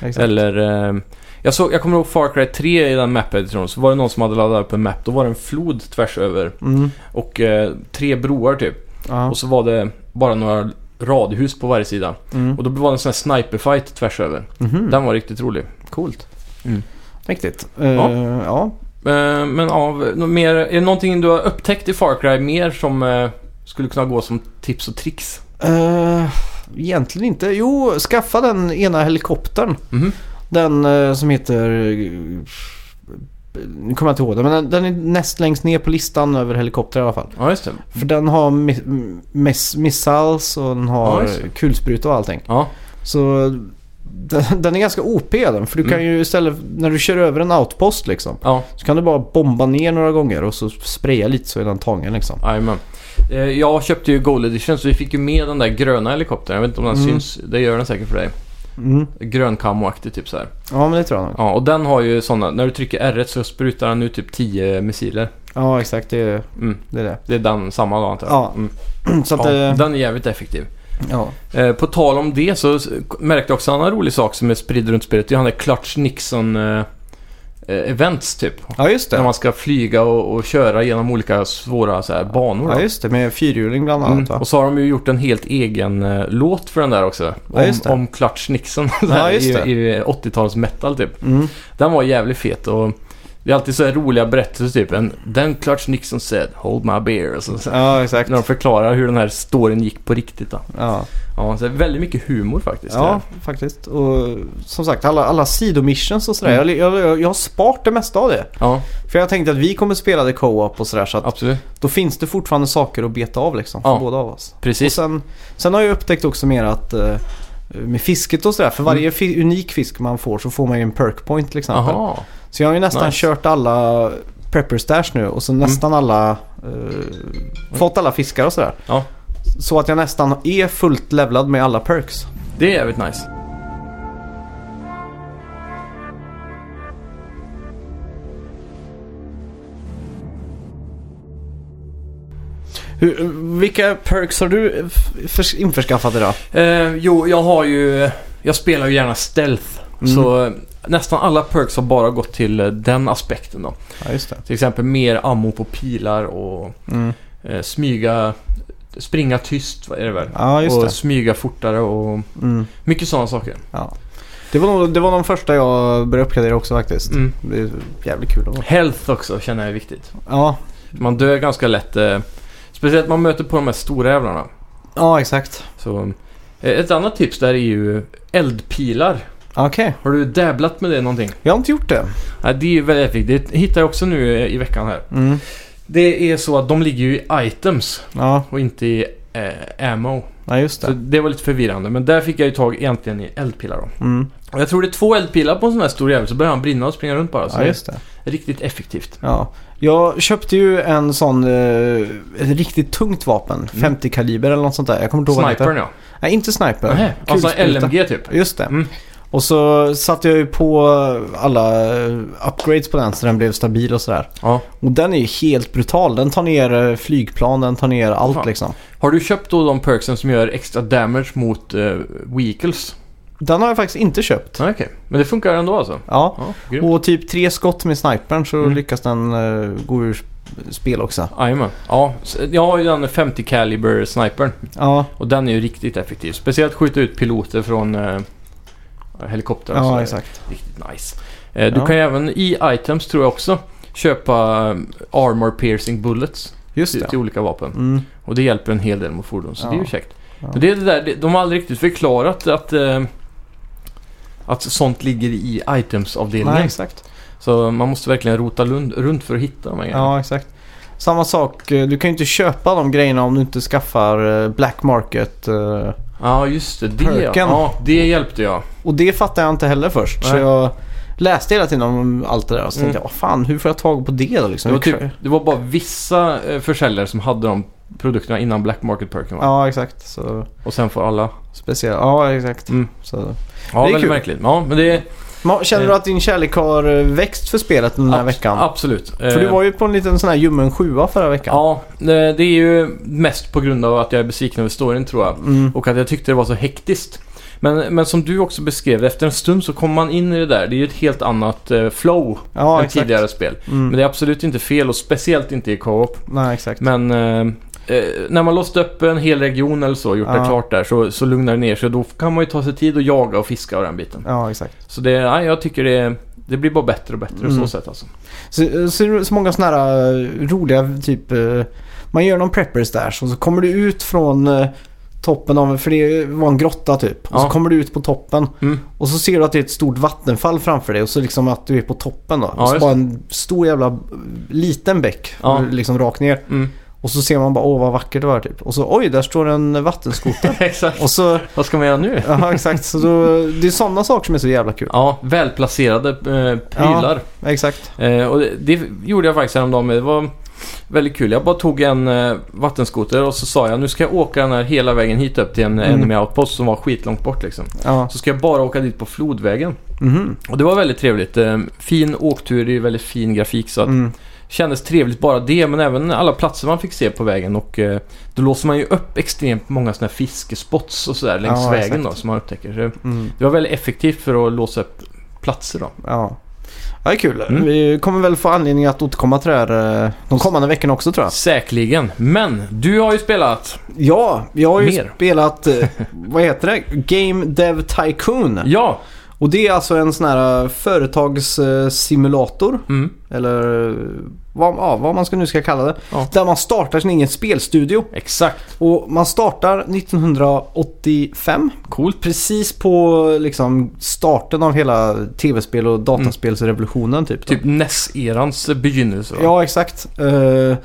Speaker 1: exakt.
Speaker 2: Eller... eh, jag, såg, jag kommer ihåg Far Cry 3 i den map-editorn. Så var det någon som hade laddat upp en map. Då var det en flod tvärs över.
Speaker 1: Mm.
Speaker 2: Och eh, tre broar typ.
Speaker 1: Ja.
Speaker 2: Och så var det bara några radhus på varje sida.
Speaker 1: Mm.
Speaker 2: Och då var det en sån här sniperfight tvärs över.
Speaker 1: Mhm.
Speaker 2: Den var riktigt rolig.
Speaker 1: Coolt.
Speaker 2: Mm.
Speaker 1: Mäktigt. Eh,
Speaker 2: Ja.
Speaker 1: ja.
Speaker 2: Eh, men av något mer, är det någonting du har upptäckt i Far Cry mer som eh, skulle kunna gå som tips och tricks?
Speaker 1: Eh, egentligen inte. Jo, skaffa den ena helikoptern.
Speaker 2: Mhm.
Speaker 1: Den eh, som heter... eh, Nu kommer jag inte ihåg den, men den, den är näst längst ner på listan över helikoptrar i alla fall.
Speaker 2: Ja, just det.
Speaker 1: För den har mi- m- miss, missiles och den
Speaker 2: Ja,
Speaker 1: har
Speaker 2: just det.
Speaker 1: kulsprutor och allting.
Speaker 2: Ja,
Speaker 1: Så den, den är ganska OP den. För du
Speaker 2: Mm.
Speaker 1: kan ju istället, när du kör över en outpost liksom.
Speaker 2: ja.
Speaker 1: Så kan du bara bomba ner några gånger och så spraya lite så är den tagen liksom.
Speaker 2: Jajamän. Eh, Jag köpte ju Gold Edition så vi fick ju med den där gröna helikoptern. Jag vet inte om den
Speaker 1: Mm.
Speaker 2: syns. Det gör den säkert för dig.
Speaker 1: Mm.
Speaker 2: Grön kamoaktig typ så här.
Speaker 1: Ja men det tror jag nog.
Speaker 2: Ja, och den har ju sådana. När du trycker R1 så sprutar den ut typ 10 missiler.
Speaker 1: Ja exakt, det är
Speaker 2: Mm.
Speaker 1: det. Är det.
Speaker 2: Det är den samma då antar jag.
Speaker 1: Ja.
Speaker 2: Mm.
Speaker 1: Så att,
Speaker 2: ja
Speaker 1: eh,
Speaker 2: den är jävligt effektiv.
Speaker 1: ja.
Speaker 2: Eh, på tal om det så s- märkte jag också en annan rolig sak som är spridd runt spelet. Det är han där Clutch Nixon eh, eh, events typ.
Speaker 1: ja, just
Speaker 2: När
Speaker 1: det.
Speaker 2: man ska flyga och, och köra genom olika svåra så här, banor. då.
Speaker 1: Ja, just det. Med fyrhjuling bland annat
Speaker 2: Mm.
Speaker 1: va?
Speaker 2: Och så har de ju gjort en helt egen eh, låt för den där också.
Speaker 1: Ja,
Speaker 2: Om,
Speaker 1: just det.
Speaker 2: om Clutch Nixon. så
Speaker 1: Ja,
Speaker 2: här,
Speaker 1: just det.
Speaker 2: I, i 80-tals metal typ.
Speaker 1: Mm.
Speaker 2: Den var jävligt fet och Det är alltid så här roliga berättelser typ. En, Then Clutch Nixon said “Hold my beer” och så, så,
Speaker 1: Ja, exakt.
Speaker 2: När de förklarar hur den här storyn gick på riktigt då.
Speaker 1: Ja,
Speaker 2: Ja, så det är väldigt mycket humor faktiskt. det
Speaker 1: ja
Speaker 2: här.
Speaker 1: faktiskt. Och som sagt, alla, alla sidomissions och sådär.
Speaker 2: Mm.
Speaker 1: Jag, jag, jag har sparat det mesta av det.
Speaker 2: ja
Speaker 1: För jag tänkte att vi kommer spela det co-op och sådär. Så att
Speaker 2: absolut.
Speaker 1: då finns det fortfarande saker att beta av liksom. För
Speaker 2: Ja.
Speaker 1: båda av oss. Och
Speaker 2: Precis.
Speaker 1: sen, sen har jag upptäckt också mer att eh, med fisket och sådär. För
Speaker 2: Mm.
Speaker 1: varje fi- unik fisk man får så får man ju en perk point till exempel.
Speaker 2: Jaha.
Speaker 1: Så jag har ju nästan
Speaker 2: Nice.
Speaker 1: kört alla prepper stash nu och så nästan alla... Eh, fått alla fiskar och sådär.
Speaker 2: Ja.
Speaker 1: Så att jag nästan är fullt levlad med alla perks.
Speaker 2: Det är jävligt nice.
Speaker 1: Hur, vilka perks har du f- förs- införskaffat idag?
Speaker 2: Eh, jo, jag har ju... Jag spelar ju gärna stealth.
Speaker 1: Mm.
Speaker 2: Så eh, nästan alla perks har bara gått till eh, den aspekten då.
Speaker 1: Ja, just det.
Speaker 2: Till exempel mer ammo på pilar och
Speaker 1: Mm.
Speaker 2: eh, smyga... Springa tyst är det väl?
Speaker 1: Ja, just
Speaker 2: och
Speaker 1: det.
Speaker 2: smyga fortare och
Speaker 1: Mm.
Speaker 2: mycket sådana saker.
Speaker 1: Ja. Det, var nog, det var de första jag började uppgradera också faktiskt.
Speaker 2: Mm.
Speaker 1: Det är jävligt kul. att vara.
Speaker 2: Health också känner jag är viktigt.
Speaker 1: Ja,
Speaker 2: Man dör ganska lätt. Eh, speciellt man möter på de här stora jävlarna.
Speaker 1: ja exakt.
Speaker 2: Så, eh, ett annat tips där är ju eldpilar.
Speaker 1: Okej,
Speaker 2: Har du dabblat med det någonting?
Speaker 1: jag har inte gjort det.
Speaker 2: Ja, det är ju väldigt viktigt. Det hittar jag också nu eh, i veckan här.
Speaker 1: Mm.
Speaker 2: Det är så att de ligger ju i items
Speaker 1: Ja,
Speaker 2: och inte i eh, ammo.
Speaker 1: ja, just
Speaker 2: Så
Speaker 1: det.
Speaker 2: det var lite förvirrande. Men där fick jag ju tag egentligen i eldpilar då.
Speaker 1: Mm.
Speaker 2: Och jag tror det är två eldpilar på en sån här stor jävel så börjar han brinna och springa runt bara. Så
Speaker 1: Ja, just det.
Speaker 2: det är riktigt effektivt.
Speaker 1: Ja. Jag köpte ju en sån, eh, ett riktigt tungt vapen.
Speaker 2: Mm.
Speaker 1: 50 kaliber eller något sånt där. Jag kommer inte ihåg vad det
Speaker 2: Snipern
Speaker 1: heter.
Speaker 2: ja.
Speaker 1: Nej, inte sniper.
Speaker 2: Nähä, alltså
Speaker 1: Kulspruta.
Speaker 2: LMG typ.
Speaker 1: Just det.
Speaker 2: Mm.
Speaker 1: Och så satte jag ju på alla eh, upgrades på den så den blev stabil och sådär.
Speaker 2: Ja.
Speaker 1: Och den är ju helt brutal. Den tar ner eh, flygplan, den tar ner allt
Speaker 2: Fan.
Speaker 1: liksom.
Speaker 2: Har du köpt då de perksen som gör extra damage mot eh, vehicles?
Speaker 1: Den har jag faktiskt inte köpt.
Speaker 2: Ja, Okej, men det funkar ändå alltså?
Speaker 1: Ja.
Speaker 2: Ja, grymt.
Speaker 1: Och typ tre skott med snipern så
Speaker 2: Mm.
Speaker 1: lyckas den eh, gå ur spel också.
Speaker 2: Jajamän. Ja, s- jag har ju den 50 caliber snipern
Speaker 1: Ja,
Speaker 2: och den är ju riktigt effektiv. Speciellt skjuta ut piloter från eh, helikoptrar. och så är
Speaker 1: ja
Speaker 2: det
Speaker 1: exakt.
Speaker 2: Riktigt nice. Eh, du
Speaker 1: Ja.
Speaker 2: kan ju även i items tror jag också köpa eh, armor piercing bullets
Speaker 1: Just
Speaker 2: till,
Speaker 1: det.
Speaker 2: till olika vapen.
Speaker 1: Mm.
Speaker 2: Och det hjälper en hel del mot fordon så det är
Speaker 1: Ja.
Speaker 2: ju käckt.
Speaker 1: Ja.
Speaker 2: Men det är det där, det- de har aldrig riktigt förklarat att, eh, att sånt ligger i
Speaker 1: Nej,
Speaker 2: items-avdelningen.
Speaker 1: exakt.
Speaker 2: Så man måste verkligen rota lund, runt för att hitta de här grejerna.
Speaker 1: Ja, exakt. Samma sak, eh, du kan ju inte köpa de grejerna om du inte skaffar eh, black market. eh,
Speaker 2: Ja, just det. Det, ja.
Speaker 1: Perken.
Speaker 2: ja, det hjälpte jag.
Speaker 1: Och det fattade jag inte heller först. Så
Speaker 2: Nej.
Speaker 1: jag läste hela tiden om allt det där och så
Speaker 2: Mm.
Speaker 1: tänkte jag, "Åh, fan hur får jag tag på det då liksom?
Speaker 2: Det var, typ, det var bara vissa eh, försäljare som hade de produkterna innan Black Market Perken va?
Speaker 1: Ja, exakt. Så
Speaker 2: Och sen får alla.
Speaker 1: speciellt. Ja, exakt.
Speaker 2: Mm.
Speaker 1: Så.
Speaker 2: Ja,
Speaker 1: är
Speaker 2: väldigt
Speaker 1: kul.
Speaker 2: märkligt. Ja, men det är...
Speaker 1: Ma- Känner
Speaker 2: Eh.
Speaker 1: du att din kärlek har eh, växt för spelet den här
Speaker 2: abs-
Speaker 1: veckan?
Speaker 2: Absolut. Eh,
Speaker 1: För du var ju på en liten sån här ljummen sjua förra veckan.
Speaker 2: Ja, eh, det är ju mest på grund av att jag är besviken över storyn tror jag.
Speaker 1: Mm.
Speaker 2: Och att jag tyckte det var så hektiskt. Men, men som du också beskrev, efter en stund så kommer man in i det där. Det är ju ett helt annat eh, flow
Speaker 1: ja
Speaker 2: än
Speaker 1: exakt.
Speaker 2: tidigare spel.
Speaker 1: Mm.
Speaker 2: Men det är absolut inte fel och speciellt inte i co-op.
Speaker 1: Nej, exakt.
Speaker 2: Men eh, eh, när man låst upp en hel region eller så, gjort
Speaker 1: Ja.
Speaker 2: det klart där, så, så lugnar det ner sig. Då kan man ju ta sig tid att jaga och fiska och den biten.
Speaker 1: Ja, exakt.
Speaker 2: Så det, nej, jag tycker det, det blir bara bättre och bättre på
Speaker 1: Mm.
Speaker 2: så sätt alltså.
Speaker 1: Så, så, så många sådana här eh, roliga typ... eh, Man gör någon preppers där så, så kommer du ut från eh, toppen av... För det var en grotta typ. Och så
Speaker 2: Ja.
Speaker 1: kommer du ut på toppen.
Speaker 2: Mm.
Speaker 1: Och så ser du att det är ett stort vattenfall framför dig. Och så liksom att du är på toppen då.
Speaker 2: Ja,
Speaker 1: och så
Speaker 2: just
Speaker 1: bara en stor jävla eh, liten bäck.
Speaker 2: Ja.
Speaker 1: Liksom rakt ner.
Speaker 2: Mm.
Speaker 1: Och så ser man bara åh vad vackert det var typ. Och så oj där står en vattenskoter.
Speaker 2: Exakt.
Speaker 1: och så...
Speaker 2: Vad ska man göra nu?
Speaker 1: Ja exakt. Så då, det är sådana saker som är så jävla kul.
Speaker 2: Ja, välplacerade eh, prylar.
Speaker 1: Exakt.
Speaker 2: Eh, och det, det gjorde jag faktiskt häromdagen med. Det var väldigt kul. Jag bara tog en eh, vattenskoter och så sa jag nu ska jag åka den här hela vägen hit upp till en
Speaker 1: Mm.
Speaker 2: mm. enemy outpost som var skitlångt bort liksom.
Speaker 1: Ja.
Speaker 2: Så ska jag bara åka dit på flodvägen.
Speaker 1: Mhm.
Speaker 2: Och det var väldigt trevligt. Eh, Fin åktur i väldigt fin grafik så att
Speaker 1: Mm.
Speaker 2: kändes trevligt bara det men även alla platser man fick se på vägen och eh, då låser man ju upp extremt många sådana här fiskespots och sådär längs
Speaker 1: Ja,
Speaker 2: vägen
Speaker 1: exakt.
Speaker 2: då som man upptäcker. Så
Speaker 1: Mm.
Speaker 2: det var väldigt effektivt för att låsa upp platser då.
Speaker 1: Ja. Ja, det är kul.
Speaker 2: Mm.
Speaker 1: Vi kommer väl få anledning att återkomma till det här eh, de kommande veckorna också tror jag.
Speaker 2: Säkerligen. Men du har ju spelat.
Speaker 1: Ja, jag har ju
Speaker 2: Mer.
Speaker 1: spelat, eh, vad heter det? Game Dev Tycoon.
Speaker 2: Ja,
Speaker 1: Och det är alltså en sån här företagssimulator.
Speaker 2: Mm.
Speaker 1: Eller eh, vad, ja, vad man ska nu ska kalla det.
Speaker 2: Ja.
Speaker 1: Där man startar sin egen spelstudio.
Speaker 2: Exakt.
Speaker 1: Och man startar 1985.
Speaker 2: Coolt.
Speaker 1: Precis på liksom starten av hela tv-spel och dataspelsrevolutionen typ. då.
Speaker 2: Typ NES-erans begynnelse. va?
Speaker 1: Ja, exakt. Eh,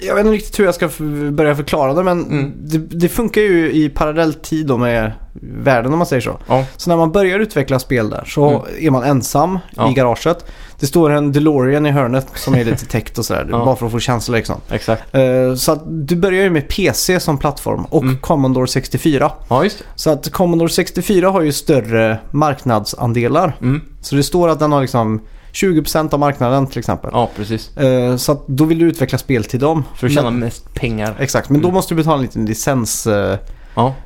Speaker 1: jag vet inte riktigt hur jag ska f- börja förklara det men
Speaker 2: Mm.
Speaker 1: det, det funkar ju i parallell tid då med världen om man säger så.
Speaker 2: Ja.
Speaker 1: Så när man börjar utveckla spel där så
Speaker 2: Mm.
Speaker 1: är man ensam
Speaker 2: Ja.
Speaker 1: i garaget. Det står en DeLorean i hörnet som är lite täckt och sådär.
Speaker 2: Ja.
Speaker 1: Bara för att få känsla liksom.
Speaker 2: Exakt.
Speaker 1: Eh, Så att du börjar ju med PC som plattform och
Speaker 2: Mm.
Speaker 1: Commodore 64.
Speaker 2: Ja, just det.
Speaker 1: Så att Commodore 64 har ju större marknadsandelar.
Speaker 2: Mm.
Speaker 1: Så det står att den har liksom 20% av marknaden till exempel.
Speaker 2: Ja, precis.
Speaker 1: Eh, Så att då vill du utveckla spel till dem.
Speaker 2: För att tjäna
Speaker 1: Men,
Speaker 2: mest pengar.
Speaker 1: exakt, men då
Speaker 2: Mm.
Speaker 1: måste du betala en liten licenspeng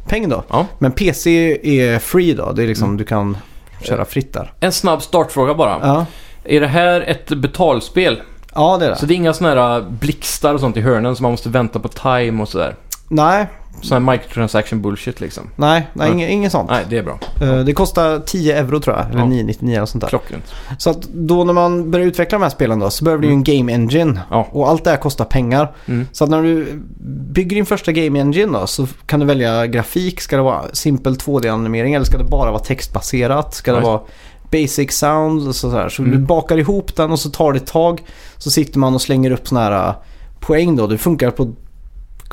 Speaker 2: Ja.
Speaker 1: då.
Speaker 2: Ja.
Speaker 1: Men PC är free då. Det är
Speaker 2: Mm.
Speaker 1: liksom du kan köra fritt där.
Speaker 2: En snabb startfråga bara.
Speaker 1: Ja,
Speaker 2: Är det här ett betalspel?
Speaker 1: ja det är det.
Speaker 2: Så det är inga sådana här äh, blixtar och sånt i hörnen som man måste vänta på time och sådär?
Speaker 1: Nej,
Speaker 2: Sån här microtransaction bullshit liksom?
Speaker 1: nej, nej
Speaker 2: Mm.
Speaker 1: inget, inget sånt.
Speaker 2: Nej, det är bra.
Speaker 1: Eh, Det kostar 10 euro tror jag. Eller
Speaker 2: Ja.
Speaker 1: 9,99 eller sånt där.
Speaker 2: Klockrent.
Speaker 1: Så att då när man börjar utveckla de här spelen då så behöver du ju en game engine.
Speaker 2: Mm. Ja.
Speaker 1: Och allt det här kostar pengar.
Speaker 2: Mm.
Speaker 1: Så att när du bygger din första game engine då så kan du välja grafik. Ska det vara simpel 2D-animering eller ska det bara vara textbaserat? Ska det
Speaker 2: Ja,
Speaker 1: vara basic sound och sådär. Så
Speaker 2: Mm.
Speaker 1: du bakar ihop den och så tar det ett tag. Så sitter man och slänger upp sådana här äh, poäng då. Det funkar på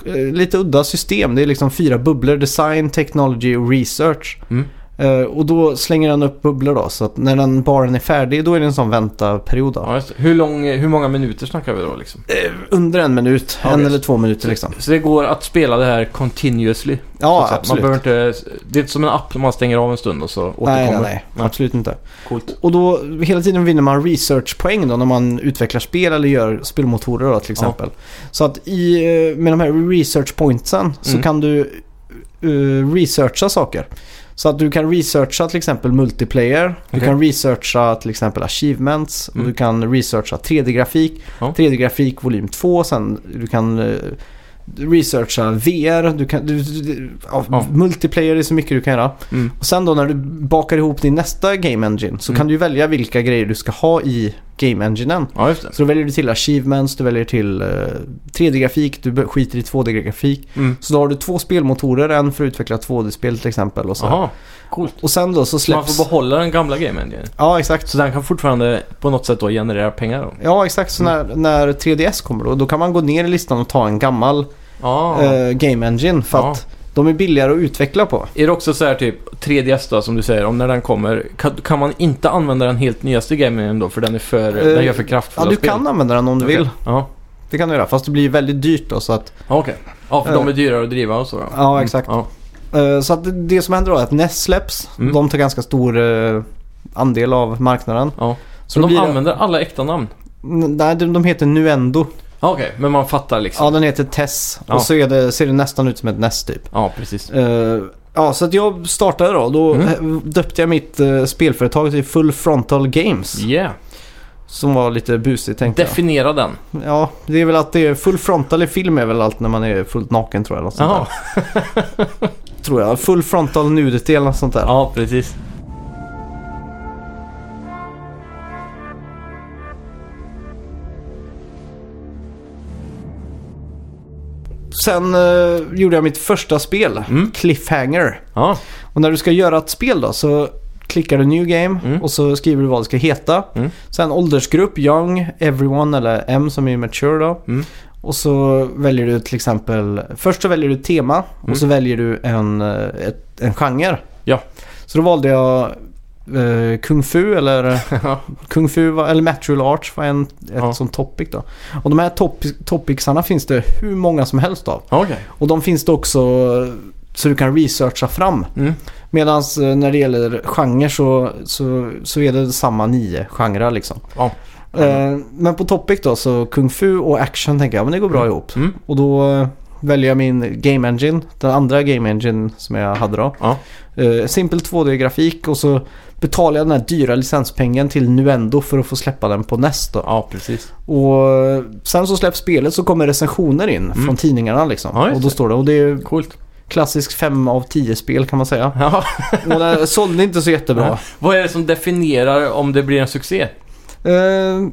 Speaker 1: eh, lite udda system. Det är liksom fyra bubblor. Design, technology och research.
Speaker 2: Mm.
Speaker 1: Eh, och då slänger den upp bubblor då. Så att när den baren är färdig då är det en sån väntaperiod då.
Speaker 2: Ja, just det. Hur, lång, hur många minuter snackar vi då liksom?
Speaker 1: Eh, Under en minut.
Speaker 2: Ja,
Speaker 1: en
Speaker 2: visst.
Speaker 1: eller två minuter liksom.
Speaker 2: Så det går att spela det här continuously? så
Speaker 1: Ja,
Speaker 2: att säga.
Speaker 1: absolut.
Speaker 2: Man behöver inte, det är inte som en app som man stänger av en stund och så återkommer.
Speaker 1: Nej, nej, nej,
Speaker 2: Nej.
Speaker 1: Absolut inte.
Speaker 2: Coolt.
Speaker 1: Och då hela tiden vinner man researchpoäng då när man utvecklar spel eller gör spelmotorer då till exempel. Så att i, eh, med de här research pointsen så
Speaker 2: Mm.
Speaker 1: kan du eh, researcha saker. Så att du kan researcha till exempel multiplayer, du
Speaker 2: Okej.
Speaker 1: kan researcha till exempel achievements,
Speaker 2: Mm.
Speaker 1: och du kan researcha 3D-grafik,
Speaker 2: Ja.
Speaker 1: 3D-grafik volym 2, sen du kan eh, researcha VR, du kan, du, du, du, ja,
Speaker 2: Ja.
Speaker 1: multiplayer är så mycket du kan göra.
Speaker 2: Mm.
Speaker 1: Och sen då när du bakar ihop din nästa Game Engine så
Speaker 2: Mm.
Speaker 1: kan du ju välja vilka grejer du ska ha i Game Enginen.
Speaker 2: Ja, just det.
Speaker 1: Så då väljer du till Achievements, du väljer till eh, 3D-grafik, du be- skiter i 2D-grafik.
Speaker 2: Mm.
Speaker 1: Så då har du två spelmotorer, en för att utveckla 2D-spel till exempel och så.
Speaker 2: Aha, coolt.
Speaker 1: Och sen då så
Speaker 2: Så man
Speaker 1: släpps...
Speaker 2: får behålla den gamla game engine.
Speaker 1: ja, exakt.
Speaker 2: Så den kan fortfarande på något sätt då generera pengar då?
Speaker 1: Ja, exakt. Så när,
Speaker 2: Mm.
Speaker 1: när 3DS kommer då, då kan man gå ner i listan och ta en gammal
Speaker 2: Ja.
Speaker 1: eh, Game Engine för
Speaker 2: Ja.
Speaker 1: att de är billigare att utveckla på.
Speaker 2: Är det också så här typ 3DS då som du säger, om när den kommer, kan, kan man inte använda den helt nyaste gamingen då för den är för,
Speaker 1: Eh,
Speaker 2: den gör för
Speaker 1: Ja,
Speaker 2: kraftfulla
Speaker 1: du
Speaker 2: spel?
Speaker 1: kan använda den om du
Speaker 2: Okej.
Speaker 1: vill.
Speaker 2: Ja,
Speaker 1: Det kan du göra. Fast det blir väldigt dyrt då så att
Speaker 2: Ja, okej. Ja, för
Speaker 1: Eh.
Speaker 2: de är dyrare att driva och så då.
Speaker 1: Ja, exakt.
Speaker 2: Ja.
Speaker 1: Eh, Så att det- det som händer då är att NES släpps.
Speaker 2: Mm.
Speaker 1: De tar ganska stor eh, andel av marknaden.
Speaker 2: Ja.
Speaker 1: Så
Speaker 2: Så
Speaker 1: då
Speaker 2: de
Speaker 1: blir det-
Speaker 2: använder alla äkta namn?
Speaker 1: N- Nej, de de heter Nuendo.
Speaker 2: Ja, okej. Men man fattar liksom?
Speaker 1: Ja,
Speaker 2: Ja,
Speaker 1: den heter Tess.
Speaker 2: Ja.
Speaker 1: Och så är det, ser det nästan ut som ett NES typ.
Speaker 2: precis.
Speaker 1: Eh, Ja, så att jag startade då. Då
Speaker 2: Mm.
Speaker 1: eh, döpte jag mitt eh, spelföretag till Full Frontal Games.
Speaker 2: Yeah.
Speaker 1: Som var lite busigt tänkte
Speaker 2: Definiera den.
Speaker 1: jag. Ja, det är väl att det är full frontal i film är väl allt när man är fullt naken tror jag. eller något sånt
Speaker 2: Jaha.
Speaker 1: där. Tror jag. Full frontal nudity eller något sånt där.
Speaker 2: Ja, precis.
Speaker 1: Sen eh, gjorde jag mitt första spel,
Speaker 2: Mm.
Speaker 1: Cliffhanger.
Speaker 2: Ja,
Speaker 1: Och när du ska göra ett spel då så klickar du New Game
Speaker 2: Mm.
Speaker 1: och så skriver du vad det ska heta.
Speaker 2: Mm.
Speaker 1: Sen åldersgrupp, Young, Everyone eller M som är Mature då.
Speaker 2: Mm.
Speaker 1: Och så väljer du till exempel, först så väljer du ett tema och så väljer du en, eh, ett, en genre.
Speaker 2: Mm. Ja.
Speaker 1: Så då valde jag eh, Kung Fu eller Kung Fu var- eller Martial Arts var en, ett
Speaker 2: Ja.
Speaker 1: sånt topic då. Och de här top- topicsarna finns det hur många som helst av.
Speaker 2: okej.
Speaker 1: Och de finns det också eh, så du kan researcha fram.
Speaker 2: Mm.
Speaker 1: Medan eh, när det gäller genre så, så, så är det samma nio genrer liksom.
Speaker 2: Ja.
Speaker 1: Eh, Men på topic då så kung fu och action tänker jag, men det går bra ihop.
Speaker 2: Mm.
Speaker 1: Och då eh, väljer jag min game engine, den andra game engine som jag hade då.
Speaker 2: Ja.
Speaker 1: Eh, Simpel 2D-grafik och så betalar jag den här dyra licenspengen till Nuendo för att få släppa den på NES då.
Speaker 2: ja, precis.
Speaker 1: Och eh, sen så släpps spelet så kommer recensioner in från tidningarna liksom.
Speaker 2: Mm. Ja, just
Speaker 1: och då
Speaker 2: det.
Speaker 1: står det, och det är
Speaker 2: Coolt.
Speaker 1: klassisk 5 av 10 spel kan man säga.
Speaker 2: Ja.
Speaker 1: Och
Speaker 2: eh,
Speaker 1: den sålde inte så jättebra.
Speaker 2: Vad är det som definierar om det blir en succé?
Speaker 1: Eh,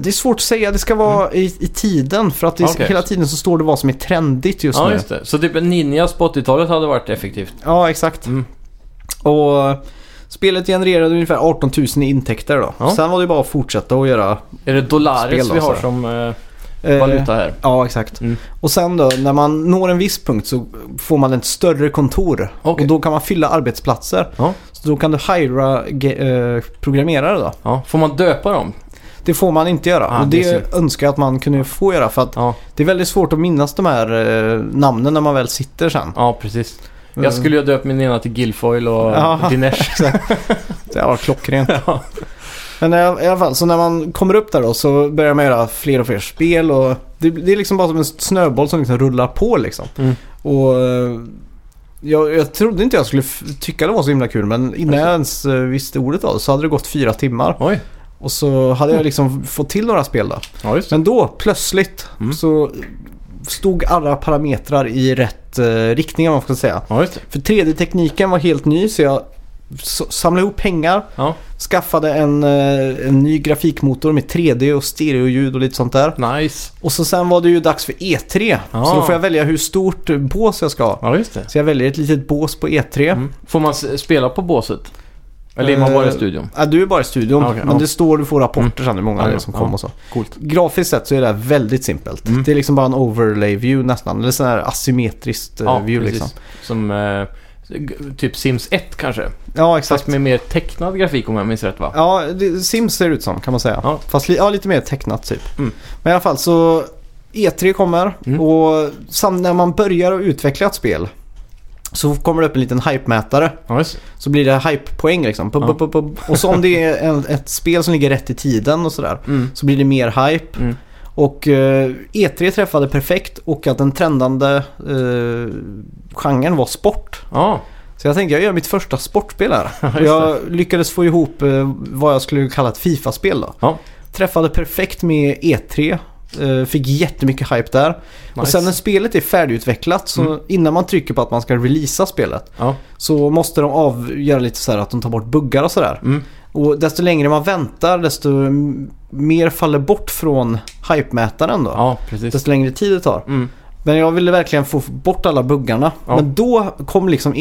Speaker 1: det är svårt att säga, det ska vara i, i tiden för att det,
Speaker 2: Mm. Okej.
Speaker 1: hela tiden så står det vad som är trendigt just
Speaker 2: ja,
Speaker 1: nu.
Speaker 2: just det. Så typ en Ninjas på 80-talet hade varit effektivt.
Speaker 1: Ja, exakt.
Speaker 2: Mm.
Speaker 1: Och eh, spelet genererade ungefär 18 000 i intäkter då.
Speaker 2: Ja.
Speaker 1: Sen var det bara att fortsätta att göra...
Speaker 2: Är det
Speaker 1: Spel
Speaker 2: Dolaris
Speaker 1: då,
Speaker 2: vi har
Speaker 1: så.
Speaker 2: som eh,
Speaker 1: eh,
Speaker 2: valuta här?
Speaker 1: Ja, exakt.
Speaker 2: Mm.
Speaker 1: Och sen då, när man når en viss punkt så får man ett större kontor.
Speaker 2: Okej.
Speaker 1: Och då kan man fylla arbetsplatser.
Speaker 2: Ja.
Speaker 1: Så då kan du hyra ge- eh, programmerare då.
Speaker 2: Ja. Får man döpa dem?
Speaker 1: Det får man inte göra.
Speaker 2: Ah,
Speaker 1: och det,
Speaker 2: det är synd.
Speaker 1: önskar jag att man kunde få göra för att
Speaker 2: Ja,
Speaker 1: det är väldigt svårt att minnas de här eh, namnen när man väl sitter sen.
Speaker 2: ja precis.
Speaker 1: Mm.
Speaker 2: Jag skulle ju ha döpt min ena till Guilfoyle och
Speaker 1: Ja.
Speaker 2: Dinesh.
Speaker 1: Det var Mm. klockrent.
Speaker 2: Ja.
Speaker 1: Men i alla i alla fall, så när man kommer upp där då så börjar man göra fler och fler spel och det, det är liksom bara som en snöboll som liksom rullar på liksom.
Speaker 2: Mm.
Speaker 1: Och eh, jag, jag trodde inte jag skulle f- tycka det var så himla kul men innan jag ens eh, visste ordet av det så hade det gått fyra timmar.
Speaker 2: Oj.
Speaker 1: Och så hade jag liksom fått till några spel då.
Speaker 2: Ja, just det.
Speaker 1: Men då plötsligt
Speaker 2: Mm.
Speaker 1: så stod alla parametrar i rätt eh, riktning om man får säga.
Speaker 2: Ja, just det.
Speaker 1: För 3D-tekniken var helt ny så jag s- samlade ihop pengar
Speaker 2: Ja.
Speaker 1: Skaffade en, eh, en ny grafikmotor med 3D och stereoljud och lite sånt där.
Speaker 2: Nice.
Speaker 1: Och så sen var det ju dags för E3.
Speaker 2: Ja.
Speaker 1: Så då får jag välja hur stort bås jag ska ha.
Speaker 2: Ja, just det.
Speaker 1: Så jag väljer ett litet bås på E E3.
Speaker 2: Mm. Får man s- spela på båset? Eller är man bara i
Speaker 1: Eh,
Speaker 2: studion?
Speaker 1: Ja, du är bara i studion,
Speaker 2: Ja, okej,
Speaker 1: men
Speaker 2: ja. Mm.
Speaker 1: det står du får rapporter sen hur många
Speaker 2: Ja,
Speaker 1: det är
Speaker 2: ja,
Speaker 1: som
Speaker 2: ja.
Speaker 1: kom och så.
Speaker 2: Coolt.
Speaker 1: Grafiskt sett så är det här väldigt simpelt.
Speaker 2: Mm.
Speaker 1: Det är liksom bara en overlay view nästan. Eller sån här asymmetriskt eh, view
Speaker 2: precis.
Speaker 1: liksom.
Speaker 2: Som eh, g- typ Sims 1 kanske.
Speaker 1: Ja, exakt.
Speaker 2: Fast med mer tecknad grafik om jag minns rätt va?
Speaker 1: Ja, det, Sims ser det ut som kan man säga.
Speaker 2: Ja.
Speaker 1: Fast li, ja, lite mer tecknat typ.
Speaker 2: Mm.
Speaker 1: Men i alla fall så E3 kommer
Speaker 2: Mm.
Speaker 1: och sam, när man börjar att utveckla ett spel så kommer det upp en liten hype-mätare.
Speaker 2: Ja, just
Speaker 1: Så blir det hype-poäng liksom. Pub,
Speaker 2: Ja.
Speaker 1: pub, pub, pub. Och så om det är en, ett spel som ligger rätt i tiden och sådär
Speaker 2: mm.
Speaker 1: så blir det mer hype.
Speaker 2: Mm.
Speaker 1: Och eh, E3 träffade perfekt och att den trendande eh, genren var sport.
Speaker 2: Ja,
Speaker 1: Så jag tänkte jag gör mitt första sportspel här. Och
Speaker 2: just
Speaker 1: jag lyckades få ihop eh, vad jag skulle kalla ett FIFA-spel då.
Speaker 2: Ja.
Speaker 1: Träffade perfekt med E3. eh, Fick jättemycket hype där. Och sen när spelet är färdigutvecklat så
Speaker 2: Mm.
Speaker 1: innan man trycker på att man ska releasa spelet
Speaker 2: Ja.
Speaker 1: så måste de avgöra lite så här att de tar bort buggar och sådär.
Speaker 2: Mm.
Speaker 1: Och desto längre man väntar desto m- mer faller bort från hype-mätaren då.
Speaker 2: ja, precis.
Speaker 1: Desto längre tid det tar.
Speaker 2: Mm.
Speaker 1: Men jag ville verkligen få bort alla buggarna.
Speaker 2: Ja.
Speaker 1: Men då kom liksom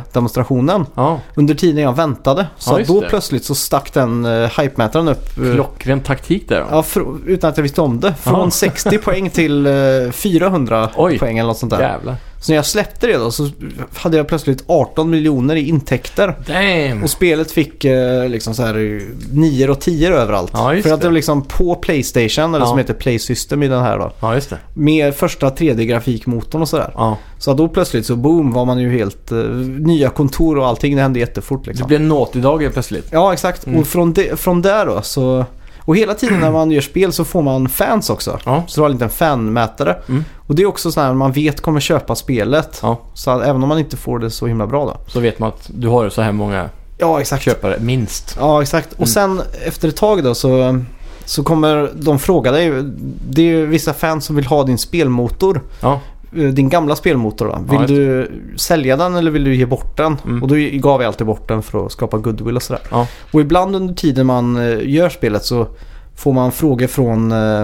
Speaker 1: E3-demonstrationen
Speaker 2: Ja,
Speaker 1: under tiden jag väntade.
Speaker 2: Ja,
Speaker 1: Så att
Speaker 2: just
Speaker 1: då
Speaker 2: det.
Speaker 1: plötsligt så stack den uh, hype-mätaren upp. eh,
Speaker 2: klockren taktik där då.
Speaker 1: ja, fr- utan att jag visste om det. Från
Speaker 2: Ja.
Speaker 1: 60 poäng till eh, 400
Speaker 2: Oj.
Speaker 1: poäng eller något sånt där.
Speaker 2: Jävlar.
Speaker 1: Så när jag släppte det då så hade jag plötsligt 18 miljoner i intäkter.
Speaker 2: Damn!
Speaker 1: Och spelet fick eh, liksom så här 9 och 10 överallt.
Speaker 2: Ja, just
Speaker 1: För att det
Speaker 2: det.
Speaker 1: var liksom på Playstation, eller
Speaker 2: Ja.
Speaker 1: som heter Play System i den här då.
Speaker 2: Ja, just det.
Speaker 1: Med första 3D-grafikmotorn och sådär.
Speaker 2: Ja.
Speaker 1: Så att då plötsligt så boom var man ju helt... eh, nya kontor och allting, det hände jättefort liksom.
Speaker 2: Det blir en naughty dag helt plötsligt.
Speaker 1: Ja, exakt.
Speaker 2: Mm.
Speaker 1: Och från, de, från där då så... Och hela tiden när man gör spel så får man fans också.
Speaker 2: Ja.
Speaker 1: Så du har en liten fanmätare.
Speaker 2: Mm.
Speaker 1: Och det är också sådär man vet kommer köpa spelet.
Speaker 2: Ja.
Speaker 1: Så att även om man inte får det så himla bra då.
Speaker 2: Så vet man att du har så här många
Speaker 1: Ja, exakt. Mm.
Speaker 2: köpare, minst.
Speaker 1: Ja, exakt. Och sen efter ett tag då så, så kommer de fråga dig. Det är ju vissa fans som vill ha din spelmotor.
Speaker 2: Ja,
Speaker 1: eh, Din gamla spelmotor då. Vill
Speaker 2: just det.
Speaker 1: du sälja den eller vill du ge bort den?
Speaker 2: Mm.
Speaker 1: Och då gav jag alltid bort den för att skapa goodwill och sådär.
Speaker 2: Ja.
Speaker 1: Och ibland under tiden man eh, gör spelet så får man frågor från eh,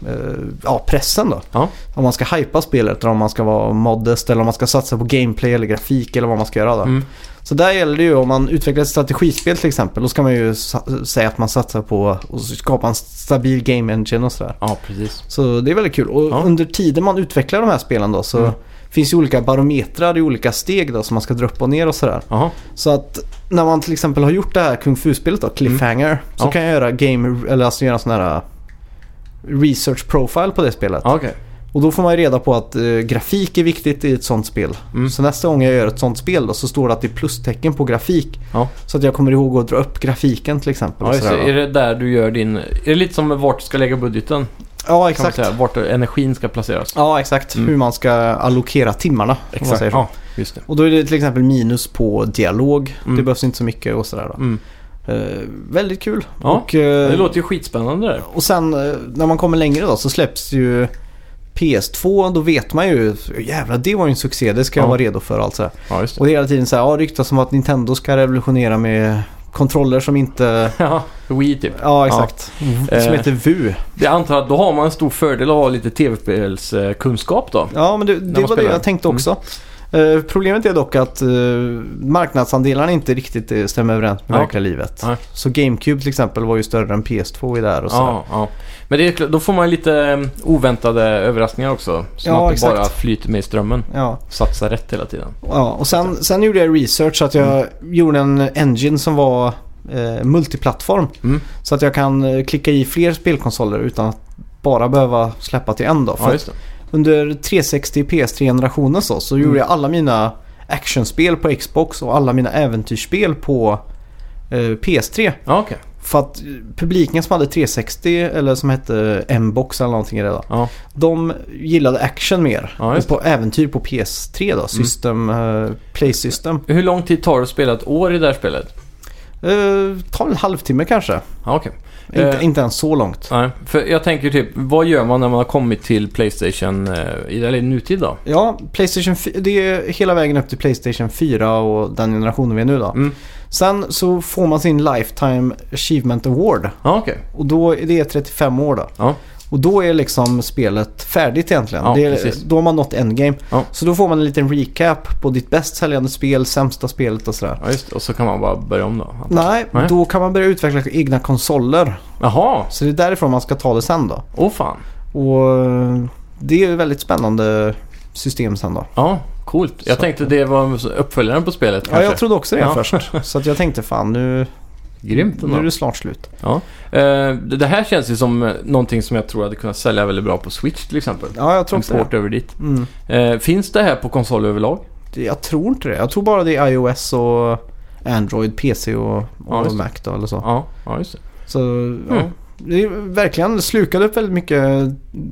Speaker 1: eh, ja, pressen då.
Speaker 2: Ja.
Speaker 1: Om man ska hypa spelet eller om man ska vara modest eller om man ska satsa på gameplay eller grafik eller vad man ska göra då.
Speaker 2: mm.
Speaker 1: Så där gäller det ju om man utvecklar ett strategispel till exempel. Då ska man ju sa- säga att man satsar på att skapa en stabil game engine och sådär.
Speaker 2: ja precis.
Speaker 1: Så det är väldigt kul. Och
Speaker 2: Ja.
Speaker 1: under tiden man utvecklar de här spelen då så
Speaker 2: Mm.
Speaker 1: finns ju olika barometrar i olika steg då som man ska dra upp och ner och sådär.
Speaker 2: Jaha.
Speaker 1: Så att när man till exempel har gjort det här Kung Fu-spelet då, Cliffhanger, så
Speaker 2: Mm. Ja.
Speaker 1: kan jag göra game, eller alltså göra sån här research profile på det spelet.
Speaker 2: Ja, okej.
Speaker 1: Och då får man ju reda på att eh, grafik är viktigt i ett sånt spel.
Speaker 2: Mm.
Speaker 1: Så nästa gång jag gör ett sånt spel då, så står det att det är plustecken på grafik.
Speaker 2: Ja.
Speaker 1: Så att jag kommer ihåg att dra upp grafiken till exempel.
Speaker 2: Ja,
Speaker 1: och
Speaker 2: just
Speaker 1: sådär,
Speaker 2: det.
Speaker 1: va?
Speaker 2: Är det där du gör din... Är det lite som vart du ska lägga budgeten?
Speaker 1: ja
Speaker 2: Kan man
Speaker 1: exakt.
Speaker 2: säga. Vart energin ska placeras?
Speaker 1: Ja, exakt.
Speaker 2: Mm.
Speaker 1: Hur man ska allokera timmarna. om man säger så.
Speaker 2: Ja, just det.
Speaker 1: Och då är det till exempel minus på dialog.
Speaker 2: Mm.
Speaker 1: Det behövs inte så mycket och sådär. Då.
Speaker 2: Mm.
Speaker 1: Eh, väldigt kul.
Speaker 2: Ja,
Speaker 1: och, eh,
Speaker 2: Det låter ju skitspännande där.
Speaker 1: och sen eh, när man kommer längre då så släpps ju PS2 då vet man ju, jävlar det var ju en succé, det ska jag
Speaker 2: Ja.
Speaker 1: vara redo för alltså.
Speaker 2: Ja, just det.
Speaker 1: Och det är hela tiden så här, ja ryktas som att Nintendo ska revolutionera med kontroller som inte,
Speaker 2: Ja, Wii typ.
Speaker 1: ja exakt, som
Speaker 2: Eh.
Speaker 1: heter VU.
Speaker 2: Jag antar att då har man en stor fördel att ha lite tv-spelskunskap då.
Speaker 1: Ja men det, det var
Speaker 2: man
Speaker 1: det
Speaker 2: spelar.
Speaker 1: jag tänkte
Speaker 2: Mm.
Speaker 1: också. Eh, problemet är dock att eh, marknadsandelarna inte riktigt eh, stämmer överens med
Speaker 2: Ja.
Speaker 1: verkliga livet.
Speaker 2: Nej.
Speaker 1: Så GameCube till exempel var ju större än PS2 i där och så.
Speaker 2: Ja, ja. Men det är, klart, då får man ju lite eh, oväntade överraskningar också. Så
Speaker 1: Ja,
Speaker 2: att det
Speaker 1: exakt.
Speaker 2: bara flyter med i strömmen.
Speaker 1: Ja.
Speaker 2: Satsa rätt hela tiden.
Speaker 1: Ja, och sen, sen gjorde jag research så att jag
Speaker 2: Mm.
Speaker 1: gjorde en engine som var eh, multiplattform.
Speaker 2: Mm.
Speaker 1: Så att jag kan eh, klicka i fler spelkonsoler utan att bara behöva släppa till en. Då. För
Speaker 2: Ja,
Speaker 1: att
Speaker 2: just det.
Speaker 1: under 360 PS3-generationen så, så
Speaker 2: Mm.
Speaker 1: gjorde jag alla mina actionspel på Xbox och alla mina äventyrsspel på eh, PS3.
Speaker 2: Ja, okej.
Speaker 1: För att eh, publiken som hade 360 eller som hette M-box eller någonting redan.
Speaker 2: Ja.
Speaker 1: De gillade action mer.
Speaker 2: Ja,
Speaker 1: och
Speaker 2: just Mm.
Speaker 1: på äventyr på PS3 då, system, eh, Play System.
Speaker 2: Hur lång tid tar det att spela ett år i det här spelet?
Speaker 1: Eh, ta en halvtimme kanske.
Speaker 2: Ja, okej.
Speaker 1: Inte,
Speaker 2: Eh.
Speaker 1: inte ens så långt.
Speaker 2: Nej, för jag tänker typ, vad gör man när man har kommit till Playstation, eh, i- eller i nutid då?
Speaker 1: Ja, Playstation 4, det är hela vägen upp till Playstation 4 och den generationen vi är nu då.
Speaker 2: Mm.
Speaker 1: Sen så får man sin Lifetime Achievement Award
Speaker 2: Ja, okej.
Speaker 1: och då är det 35 år då.
Speaker 2: Ja.
Speaker 1: Och då är liksom spelet färdigt egentligen.
Speaker 2: Ja,
Speaker 1: det är,
Speaker 2: precis.
Speaker 1: då har man nått endgame.
Speaker 2: Ja.
Speaker 1: Så då får man en liten recap på ditt bäst säljande spel, sämsta spelet och sådär.
Speaker 2: Ja, just det. Och så kan man bara börja om då.
Speaker 1: Nej,
Speaker 2: Nej.
Speaker 1: då kan man börja utveckla egna konsoler.
Speaker 2: Jaha,
Speaker 1: Så det är därifrån man ska ta det sen då.
Speaker 2: åh fan.
Speaker 1: Och eh, det är ju väldigt spännande system sen då.
Speaker 2: Ja, coolt. Jag
Speaker 1: Så-
Speaker 2: tänkte det var uppföljaren på spelet
Speaker 1: Ja,
Speaker 2: kanske.
Speaker 1: jag trodde också det
Speaker 2: Ja.
Speaker 1: först. Så att jag tänkte fan nu,
Speaker 2: Grymt
Speaker 1: nu
Speaker 2: ändå.
Speaker 1: är det snart slut.
Speaker 2: Ja. Eh, det det här känns ju som eh, någonting som jag tror hade kunnat sälja väldigt bra på Switch till exempel.
Speaker 1: Ja, jag tror
Speaker 2: En
Speaker 1: också det.
Speaker 2: port över dit.
Speaker 1: Mm.
Speaker 2: Eh, finns det här på konsol överlag?
Speaker 1: Det- Jag tror inte det. Jag tror bara det är iOS och Android, PC och, och
Speaker 2: Ja, just det.
Speaker 1: Mac då, eller så.
Speaker 2: Ja, ja just det.
Speaker 1: Så ja.
Speaker 2: Mm.
Speaker 1: Det är verkligen slukade upp väldigt mycket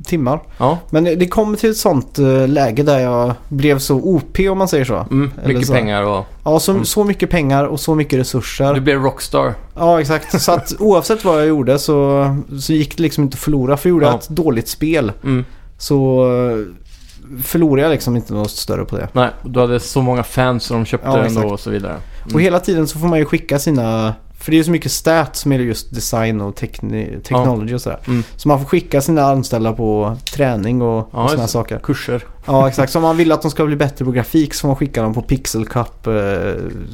Speaker 1: timmar.
Speaker 2: Ja,
Speaker 1: Men det det kommer till ett sånt eh, läge där jag blev så OP om man säger så.
Speaker 2: mm,
Speaker 1: Eller
Speaker 2: mycket
Speaker 1: så.
Speaker 2: pengar och...
Speaker 1: Ja, så,
Speaker 2: Mm.
Speaker 1: så mycket pengar och så mycket resurser.
Speaker 2: Du blev rockstar.
Speaker 1: Ja, exakt. Så att oavsett vad jag gjorde så, så gick det liksom inte att förlora. För gjorde jag
Speaker 2: Ja.
Speaker 1: ett dåligt spel
Speaker 2: Mm.
Speaker 1: så eh, förlorade jag liksom inte något större på det.
Speaker 2: Nej, du hade så många fans som de köpte
Speaker 1: Ja,
Speaker 2: den
Speaker 1: exakt.
Speaker 2: då och så vidare.
Speaker 1: Och hela tiden så får man ju skicka sina... För det är ju så mycket stats med just design och tekni- technology och sådär.
Speaker 2: Mm.
Speaker 1: Så man får skicka sina anställda på träning och,
Speaker 2: Ja,
Speaker 1: och
Speaker 2: just
Speaker 1: sådana
Speaker 2: det.
Speaker 1: saker.
Speaker 2: Kurser.
Speaker 1: Ja, exakt. Så om man vill att de ska bli bättre på grafik så får man skicka dem på Pixel Cup, eh,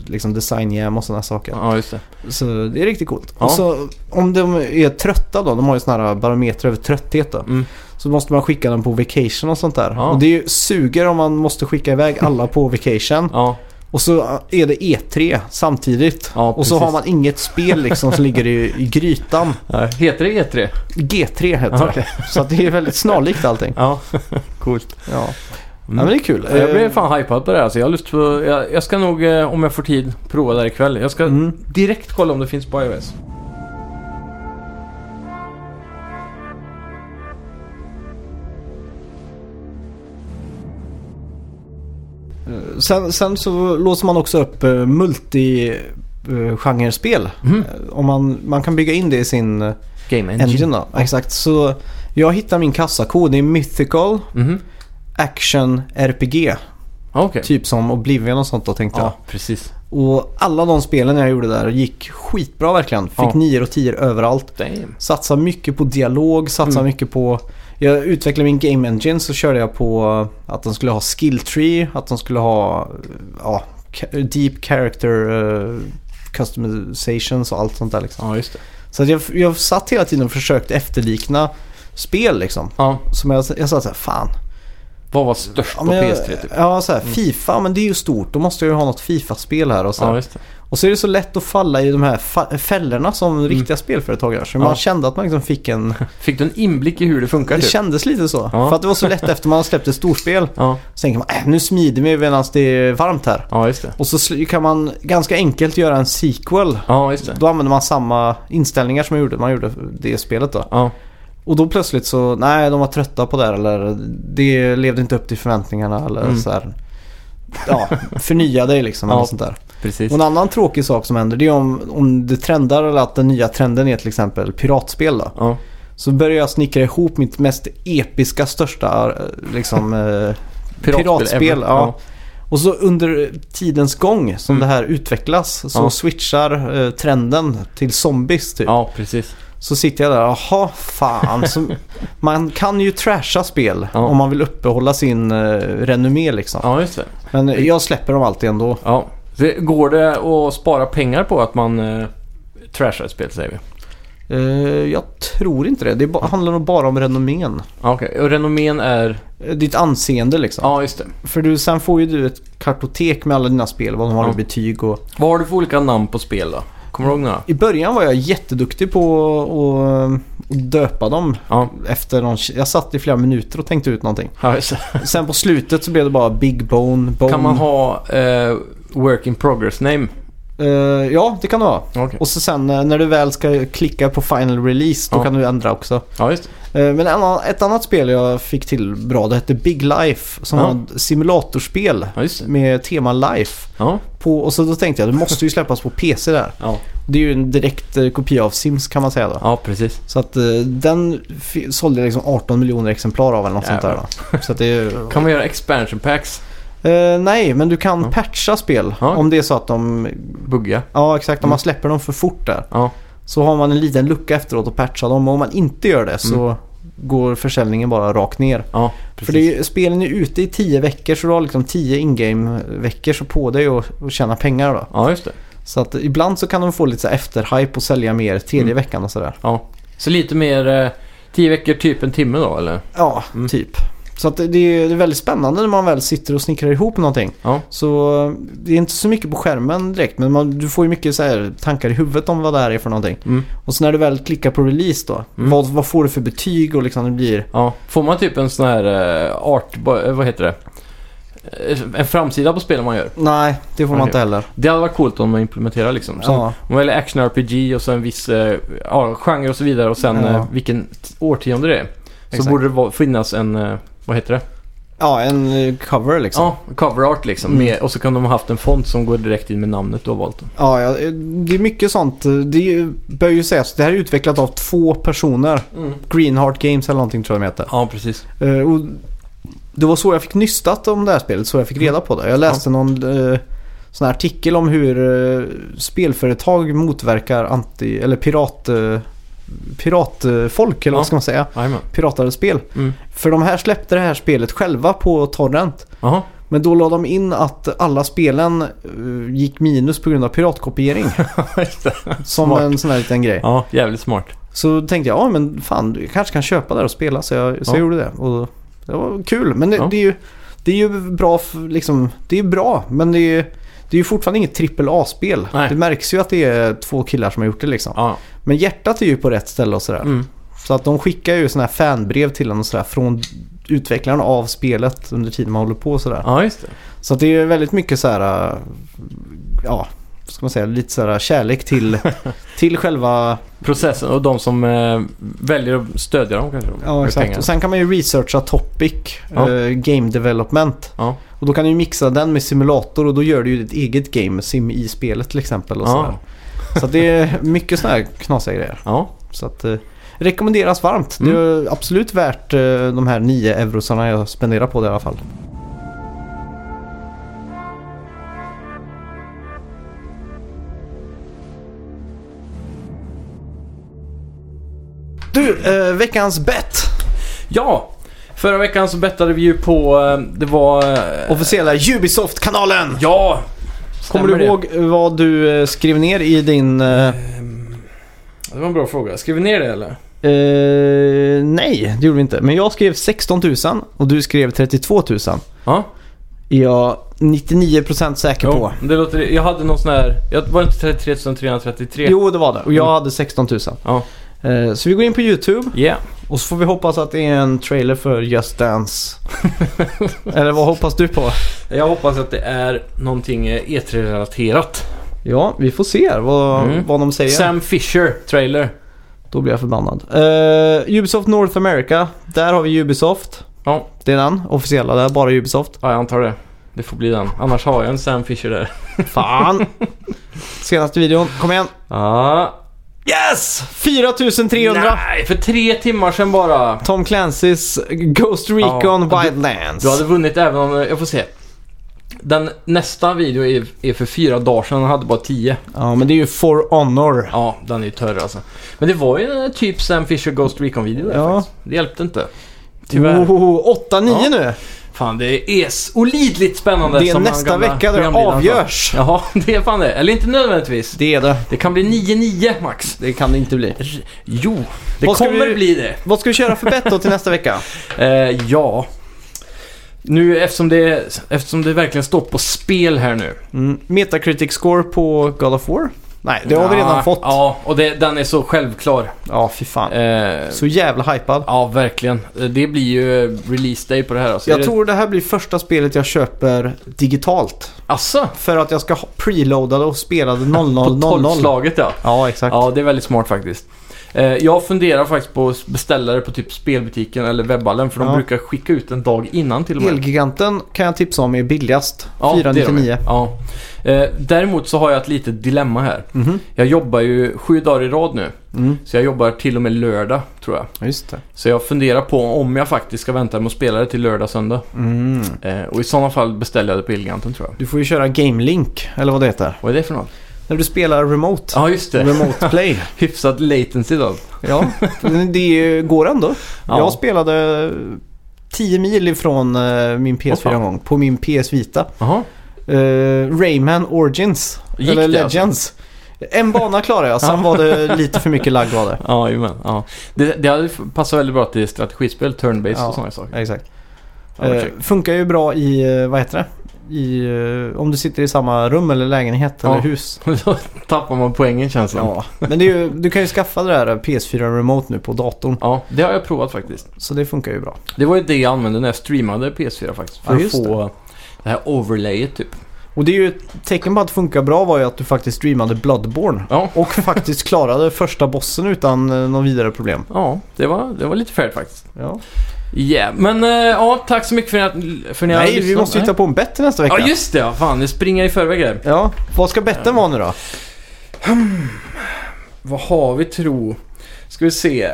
Speaker 1: liksom design jam och sådana saker.
Speaker 2: Ja, just det.
Speaker 1: Så det är riktigt coolt.
Speaker 2: Ja.
Speaker 1: Och så om de är trötta då, de har ju sådana här barometrar över trötthet då.
Speaker 2: Mm.
Speaker 1: Så måste man skicka dem på vacation och sånt där.
Speaker 2: Ja.
Speaker 1: Och det är ju suger om man måste skicka iväg alla på vacation.
Speaker 2: Ja,
Speaker 1: Och så är det E3 samtidigt.
Speaker 2: Ja,
Speaker 1: och så
Speaker 2: precis.
Speaker 1: har man inget spel liksom som ligger i, i grytan.
Speaker 2: Heter det E E3?
Speaker 1: G3 heter
Speaker 2: Ja,
Speaker 1: det. Så att det är väldigt snarlikt allting.
Speaker 2: Ja, coolt.
Speaker 1: Ja, ja men det är kul.
Speaker 2: Mm. Jag blev
Speaker 1: Eh,
Speaker 2: fan hypad på det här. Alltså, jag, har lust på, jag, jag ska nog, eh, om jag får tid, prova det här ikväll. Jag ska
Speaker 1: Mm.
Speaker 2: direkt kolla om det finns på iOS.
Speaker 1: Sen, sen så låser man också upp eh, multi eh, genrespel.
Speaker 2: Mm.
Speaker 1: Eh, Om man, man kan bygga in det i sin eh,
Speaker 2: Game Engine.
Speaker 1: engine då. Exakt. Så jag hittar min kassakod. Det är Mythical
Speaker 2: Mhm.
Speaker 1: Action RPG.
Speaker 2: Ja, Ah, Okej.
Speaker 1: Typ som Oblivion och sånt då tänkte jag.
Speaker 2: Ja, precis.
Speaker 1: Och alla de spelen jag gjorde där gick skitbra verkligen. Fick
Speaker 2: Ja.
Speaker 1: nior och tior överallt.
Speaker 2: Damn.
Speaker 1: Satsar mycket på dialog, satsar
Speaker 2: Mm.
Speaker 1: mycket på... Jag utvecklade min game engine så körde jag på att de skulle ha skill tree, att de skulle ha ja, ca- deep character eh, customizations och allt sånt där liksom.
Speaker 2: Ja, just det.
Speaker 1: Så att jag, jag satt hela tiden och försökte efterlikna spel liksom.
Speaker 2: Ja,
Speaker 1: Som jag, jag sa såhär, fan.
Speaker 2: vad var störst
Speaker 1: Ja,
Speaker 2: på
Speaker 1: men jag,
Speaker 2: PS3 typ?
Speaker 1: ja såhär, Fifa, men det är ju stort. Då måste jag ju ha något Fifa-spel här och så. här.
Speaker 2: Ja, just det.
Speaker 1: Och så är det så lätt att falla i de här fa- fällorna som riktiga spelföretag gör. Så
Speaker 2: Mm. Ja.
Speaker 1: man kände att man liksom fick en...
Speaker 2: Fick du en inblick i hur det funkar
Speaker 1: Det
Speaker 2: typ?
Speaker 1: kändes lite så.
Speaker 2: Ja.
Speaker 1: För att det var så lätt efter man har släppt ett storspel.
Speaker 2: Ja,
Speaker 1: Så tänker man äh, nu smider vi medan det är varmt här.
Speaker 2: ja, just det.
Speaker 1: Och så sl- kan man ganska enkelt göra en sequel.
Speaker 2: Ja, just det.
Speaker 1: Då använder man samma inställningar som man gjorde, man gjorde det spelet då.
Speaker 2: Ja,
Speaker 1: Och då plötsligt så, nej de var trötta på det här eller det levde inte upp till förväntningarna eller
Speaker 2: Mm.
Speaker 1: så här. Ja, förnya dig liksom eller
Speaker 2: Ja.
Speaker 1: sånt där.
Speaker 2: precis.
Speaker 1: Och en annan tråkig sak som händer det är om, om det trendar eller att den nya trenden är till exempel piratspel då.
Speaker 2: Ja,
Speaker 1: Så började jag snickra ihop mitt mest episka, största eh, liksom, eh,
Speaker 2: Piratspel
Speaker 1: piratspel.
Speaker 2: ever.
Speaker 1: Ja.
Speaker 2: Ja.
Speaker 1: Och så under tidens gång som
Speaker 2: Mm.
Speaker 1: det här utvecklas så
Speaker 2: Ja.
Speaker 1: switchar eh, trenden till zombies typ.
Speaker 2: Ja, precis.
Speaker 1: Så sitter jag där, jaha fan. Så, man kan ju trasha spel
Speaker 2: Ja.
Speaker 1: om man vill uppehålla sin eh, renommé liksom.
Speaker 2: Ja, just det.
Speaker 1: Men eh, jag släpper dem alltid ändå.
Speaker 2: Ja. Det- Går det att spara pengar på att man eh, trashar ett spel, säger vi?
Speaker 1: Eh, jag tror inte det. Det är ba- handlar nog bara om renommén.
Speaker 2: Ja, Okej, och renommén är...
Speaker 1: Eh, Ditt anseende liksom.
Speaker 2: Ja, just det.
Speaker 1: För du, sen får ju du ett kartotek med alla dina spel, vad de har
Speaker 2: Ja.
Speaker 1: i betyg och...
Speaker 2: Vad har du för olika namn på spel då? Kommer du ihåg några?
Speaker 1: I början var jag jätteduktig på att att döpa dem.
Speaker 2: Ja.
Speaker 1: Efter någon... Jag satt i flera minuter och tänkte ut någonting.
Speaker 2: ja just det.
Speaker 1: Sen på slutet så blev det bara Big Bone, Bone.
Speaker 2: Kan man ha eh, work in progress name?
Speaker 1: Eh, ja, det kan du ha.
Speaker 2: Okej.
Speaker 1: Och så sen eh, när du väl ska klicka på final release, då
Speaker 2: Ja.
Speaker 1: kan du ändra också.
Speaker 2: Ja, just det.
Speaker 1: Eh, Men en annan- ett annat spel jag fick till bra, det hette Big Life. Som
Speaker 2: Ja.
Speaker 1: var ett simulatorspel
Speaker 2: Ja, just det.
Speaker 1: med tema Life.
Speaker 2: Ja.
Speaker 1: På, och så då tänkte jag, det måste ju släppas på PC där.
Speaker 2: Ja.
Speaker 1: Det är ju en direkt eh, kopia av Sims kan man säga då.
Speaker 2: ja, precis.
Speaker 1: Så att eh, den f- sålde liksom 18 miljoner exemplar av eller något sånt där då. Så att det är ju...
Speaker 2: Kan man göra expansion packs?
Speaker 1: Eh, nej, men du kan
Speaker 2: Ja.
Speaker 1: patcha spel
Speaker 2: Ja.
Speaker 1: om det är så att de...
Speaker 2: Bugga?
Speaker 1: Ja, exakt. Om
Speaker 2: Mm.
Speaker 1: man släpper dem för fort där.
Speaker 2: Ja.
Speaker 1: Så har man en liten lucka efteråt att patcha dem. Och om man inte gör det så
Speaker 2: Mm.
Speaker 1: går försäljningen bara rakt ner.
Speaker 2: Ja, precis.
Speaker 1: För det är, ju- spelen är ute i 10 veckor så du har liksom 10 in-game-veckor så på dig att att tjäna pengar då.
Speaker 2: Ja, just det.
Speaker 1: Så att ibland så kan de få lite så här efterhype och sälja mer tredje
Speaker 2: Mm.
Speaker 1: veckan och sådär.
Speaker 2: Ja. Så lite mer... Eh, tio veckor, typ en timme då, eller?
Speaker 1: Ja,
Speaker 2: Mm.
Speaker 1: typ. Så att det, det är det är väldigt spännande när man väl sitter och snickrar ihop någonting.
Speaker 2: Ja.
Speaker 1: Så eh, det är inte så mycket på skärmen direkt men man, du får ju mycket så här tankar i huvudet om vad det här är för någonting.
Speaker 2: Mm.
Speaker 1: Och så när du väl klickar på release då,
Speaker 2: Mm.
Speaker 1: vad, vad får du för betyg och liksom det blir...
Speaker 2: Ja. Får man typ en sån här eh, art... ba- eh, Vad heter det? Eh, En framsida på spelen man gör.
Speaker 1: Nej, det får man
Speaker 2: Okej.
Speaker 1: inte heller.
Speaker 2: Det hade varit coolt om man implementerar liksom. Som,
Speaker 1: Ja.
Speaker 2: Om man väljer action-RPG och så en viss eh, ja, genre och så vidare och sen
Speaker 1: Ja.
Speaker 2: eh, vilken t- årtionde det är.
Speaker 1: Exakt.
Speaker 2: Så borde det va- finnas en, eh, vad heter det?
Speaker 1: ja, en eh, cover liksom.
Speaker 2: Ja, cover art liksom.
Speaker 1: Mm.
Speaker 2: Med, och så kan de ha haft en font som går direkt in med namnet du har valt.
Speaker 1: Ja, ja, det är mycket sånt. Det är ju- bör ju sägas, det här är utvecklat av två personer. Greenheart Games eller någonting tror jag de heter.
Speaker 2: Ja, precis.
Speaker 1: Eh, och det var så jag fick nystat om det här spelet, så jag fick reda på det. Jag läste någon eh, sån här artikel om hur eh, spelföretag motverkar anti, eller pirat, eh, piratfolk, eller
Speaker 2: Ja.
Speaker 1: vad ska man säga?
Speaker 2: Jajamän.
Speaker 1: Piratade spel.
Speaker 2: Mm.
Speaker 1: För de här släppte det här spelet själva på Torrent.
Speaker 2: Jaha.
Speaker 1: Men då la de in att alla spelen eh, gick minus på grund av piratkopiering.
Speaker 2: Just det.
Speaker 1: som
Speaker 2: Smart.
Speaker 1: en sån här liten grej.
Speaker 2: ja, jävligt smart.
Speaker 1: Så tänkte jag, ja men fan du kanske kan köpa där och spela. Så jag, så
Speaker 2: Ja.
Speaker 1: jag gjorde det. Och det var kul. Men det,
Speaker 2: Ja.
Speaker 1: det är ju, det är ju bra, f- liksom, det är bra. Men det är, ju- det är ju fortfarande inget trippel A-spel.
Speaker 2: Nej.
Speaker 1: Det märks ju att det är två killar som har gjort det liksom.
Speaker 2: Ja.
Speaker 1: Men hjärtat är ju på rätt ställe och sådär.
Speaker 2: Mm.
Speaker 1: Så att de skickar ju sådana här fanbrev till en och sådär från utvecklaren av spelet under tiden man håller på och sådär.
Speaker 2: ja, just det.
Speaker 1: Så att det är ju väldigt mycket så här, äh, ja, vad ska man säga, lite så här kärlek till, till själva
Speaker 2: Processen och de som eh, väljer att stödja dem kanske.
Speaker 1: Ja,
Speaker 2: med
Speaker 1: exakt.
Speaker 2: pengar.
Speaker 1: Och sen kan man ju researcha topic,
Speaker 2: Ja.
Speaker 1: eh, game development.
Speaker 2: Ja.
Speaker 1: Och då kan du ju mixa den med simulator och då gör du ju ditt eget game sim i spelet till exempel. Och
Speaker 2: Ja.
Speaker 1: sådär. Så att det är mycket sådana här knasiga grejer.
Speaker 2: Ja.
Speaker 1: Så att, eh, rekommenderas varmt.
Speaker 2: Mm.
Speaker 1: Det är absolut värt eh, de här 9 eurosarna jag spenderar på det i alla fall. Du, eh, veckans bet.
Speaker 2: ja, förra veckan så bettade vi ju på, eh, det var... eh,
Speaker 1: Officiella Ubisoft-kanalen!
Speaker 2: Ja!
Speaker 1: Kommer
Speaker 2: stämmer
Speaker 1: du
Speaker 2: det.
Speaker 1: ihåg vad du eh, skrev ner i din... eh,
Speaker 2: Ehm, Det var en bra fråga. Skrev vi ner det eller?
Speaker 1: Eh, nej, det gjorde vi inte. Men jag skrev 16 000 och du skrev 32 000.
Speaker 2: Ja.
Speaker 1: Är jag 99% säker på.
Speaker 2: Det låter, jag hade någon sån här... Jag var det inte 33 333?
Speaker 1: Jo, det var det. Och jag
Speaker 2: Mm.
Speaker 1: hade 16 000.
Speaker 2: Ja.
Speaker 1: Eh, så vi går in på YouTube
Speaker 2: Yeah.
Speaker 1: och så får vi hoppas att det är en trailer för Just Dance. Eller vad hoppas du på?
Speaker 2: Jag hoppas att det är någonting eh, E3-relaterat.
Speaker 1: Ja, vi får se vad,
Speaker 2: Mm.
Speaker 1: vad de säger.
Speaker 2: Sam Fisher-trailer.
Speaker 1: Då blir jag förbannad. Eh, Ubisoft North America. Där har vi Ubisoft.
Speaker 2: Ja.
Speaker 1: Det är den officiella där, bara Ubisoft.
Speaker 2: Ja, jag antar det. Det får bli den. Annars har jag en Sam Fisher där.
Speaker 1: Fan! Senaste videon, kom igen.
Speaker 2: Ja. Yes!
Speaker 1: 4300!
Speaker 2: Nej, för tre timmar sedan bara.
Speaker 1: Tom Clancys Ghost Recon
Speaker 2: Ja, du-
Speaker 1: Wildlands.
Speaker 2: Du hade vunnit även om, eh, jag får se. Den nästa video är, är för fyra dagar sedan, han hade bara tio.
Speaker 1: Ja, men det är ju For Honor.
Speaker 2: Ja, den är ju törr alltså. Men det var ju en typ Sam Fisher Ghost Recon-video där
Speaker 1: Ja.
Speaker 2: faktiskt. Det hjälpte inte. Tyvärr.
Speaker 1: Oh, 8-9
Speaker 2: Ja.
Speaker 1: nu.
Speaker 2: Fan, det är s- olidligt spännande.
Speaker 1: Det är
Speaker 2: som han
Speaker 1: nästa
Speaker 2: gamla
Speaker 1: vecka där det
Speaker 2: programledaren sa.
Speaker 1: avgörs.
Speaker 2: Jaha, det är fan det. Eller inte nödvändigtvis.
Speaker 1: Det är det.
Speaker 2: Det kan bli 9-9 max.
Speaker 1: Det kan det inte bli.
Speaker 2: Jo, det
Speaker 1: Vad ska
Speaker 2: kommer
Speaker 1: vi-
Speaker 2: bli det.
Speaker 1: Vad ska vi köra för bett då till nästa vecka?
Speaker 2: Eh, ja. Nu eftersom det, eftersom det verkligen står på spel här nu.
Speaker 1: Mm. Metacritic score på God of War? Nej, det har vi
Speaker 2: Ja,
Speaker 1: redan fått. Ja,
Speaker 2: Ja, och det, den är så självklar.
Speaker 1: fy fan.
Speaker 2: Eh,
Speaker 1: Så jävla hypad.
Speaker 2: ja, verkligen. Eh, Det blir ju eh, release day på det här. Alltså. Är
Speaker 1: Jag
Speaker 2: det,
Speaker 1: tror det här blir första spelet jag köper digitalt.
Speaker 2: Asså?
Speaker 1: För att jag ska ha- preloada det och spela det 0000.
Speaker 2: På tolvslaget ja.
Speaker 1: Ja, exakt.
Speaker 2: Ja, det är väldigt smart faktiskt. Eh, jag funderar faktiskt på att beställa det på typ spelbutiken eller webbhallen för de
Speaker 1: Ja.
Speaker 2: brukar skicka ut en dag innan till och med.
Speaker 1: Elgiganten kan jag tipsa om är billigast.
Speaker 2: Ja, det är de.
Speaker 1: 499.
Speaker 2: Ja. Eh, däremot så har jag ett litet dilemma här.
Speaker 1: Mhm.
Speaker 2: Jag jobbar ju sju dagar i rad nu.
Speaker 1: Mm.
Speaker 2: Så jag jobbar till och med lördag tror jag.
Speaker 1: Just det.
Speaker 2: Så jag funderar på om jag faktiskt ska vänta med att spela det till lördag, söndag.
Speaker 1: Mm.
Speaker 2: Eh, och i sådana fall beställer jag det på Elgiganten tror jag.
Speaker 1: Du får ju köra Game Link, eller vad det heter.
Speaker 2: Vad är det för något?
Speaker 1: När du spelar remote.
Speaker 2: Ja, just det.
Speaker 1: Remote play.
Speaker 2: Hyfsat latency då.
Speaker 1: ja, det går ändå.
Speaker 2: Ja.
Speaker 1: Jag spelade 10 mil ifrån eh, min PS4
Speaker 2: Åh, fan.
Speaker 1: en gång. På min PS Vita.
Speaker 2: Jaha.
Speaker 1: Eh, Rayman Origins.
Speaker 2: Gick
Speaker 1: eller
Speaker 2: det alltså?
Speaker 1: Legends. En bana klarade jag, sen var det lite för mycket lagg var det.
Speaker 2: Ja, jajamän. Ja. Det, det hade f- passat väldigt bra till strategispel, turn-based
Speaker 1: Ja.
Speaker 2: och sådana saker.
Speaker 1: Exakt.
Speaker 2: Ja, vad
Speaker 1: Eh,
Speaker 2: kul.
Speaker 1: funkar ju bra i, eh, vad heter det? I, eh, om du sitter i samma rum eller lägenhet
Speaker 2: Ja.
Speaker 1: eller hus.
Speaker 2: Då tappar man poängen känns det ja.
Speaker 1: Ja. Men det är ju, du kan ju skaffa det där PS4 Remote nu på datorn.
Speaker 2: ja, det har jag provat faktiskt.
Speaker 1: Så det funkar ju bra.
Speaker 2: Det var ju det jag använde när jag streamade PS4 faktiskt. För
Speaker 1: Ja,
Speaker 2: att
Speaker 1: just
Speaker 2: få det. här overlayet typ.
Speaker 1: Och det är ju ett tecken på att det funkar bra var ju att du faktiskt streamade Bloodborne.
Speaker 2: Ja,
Speaker 1: Och faktiskt klarade första bossen utan eh, någon vidare problem.
Speaker 2: ja det, var, det var lite färdigt faktiskt.
Speaker 1: Ja.
Speaker 2: Yeah. Men eh, ja, tack så mycket för att för ni har
Speaker 1: Nej, vi
Speaker 2: lyssnat.
Speaker 1: måste
Speaker 2: Nej.
Speaker 1: hitta på en bett till nästa vecka.
Speaker 2: Ja, just det. ja. Fan, det springer i förväg här.
Speaker 1: Ja, vad ska betten vara nu då?
Speaker 2: Vad har vi tro? Ska vi se.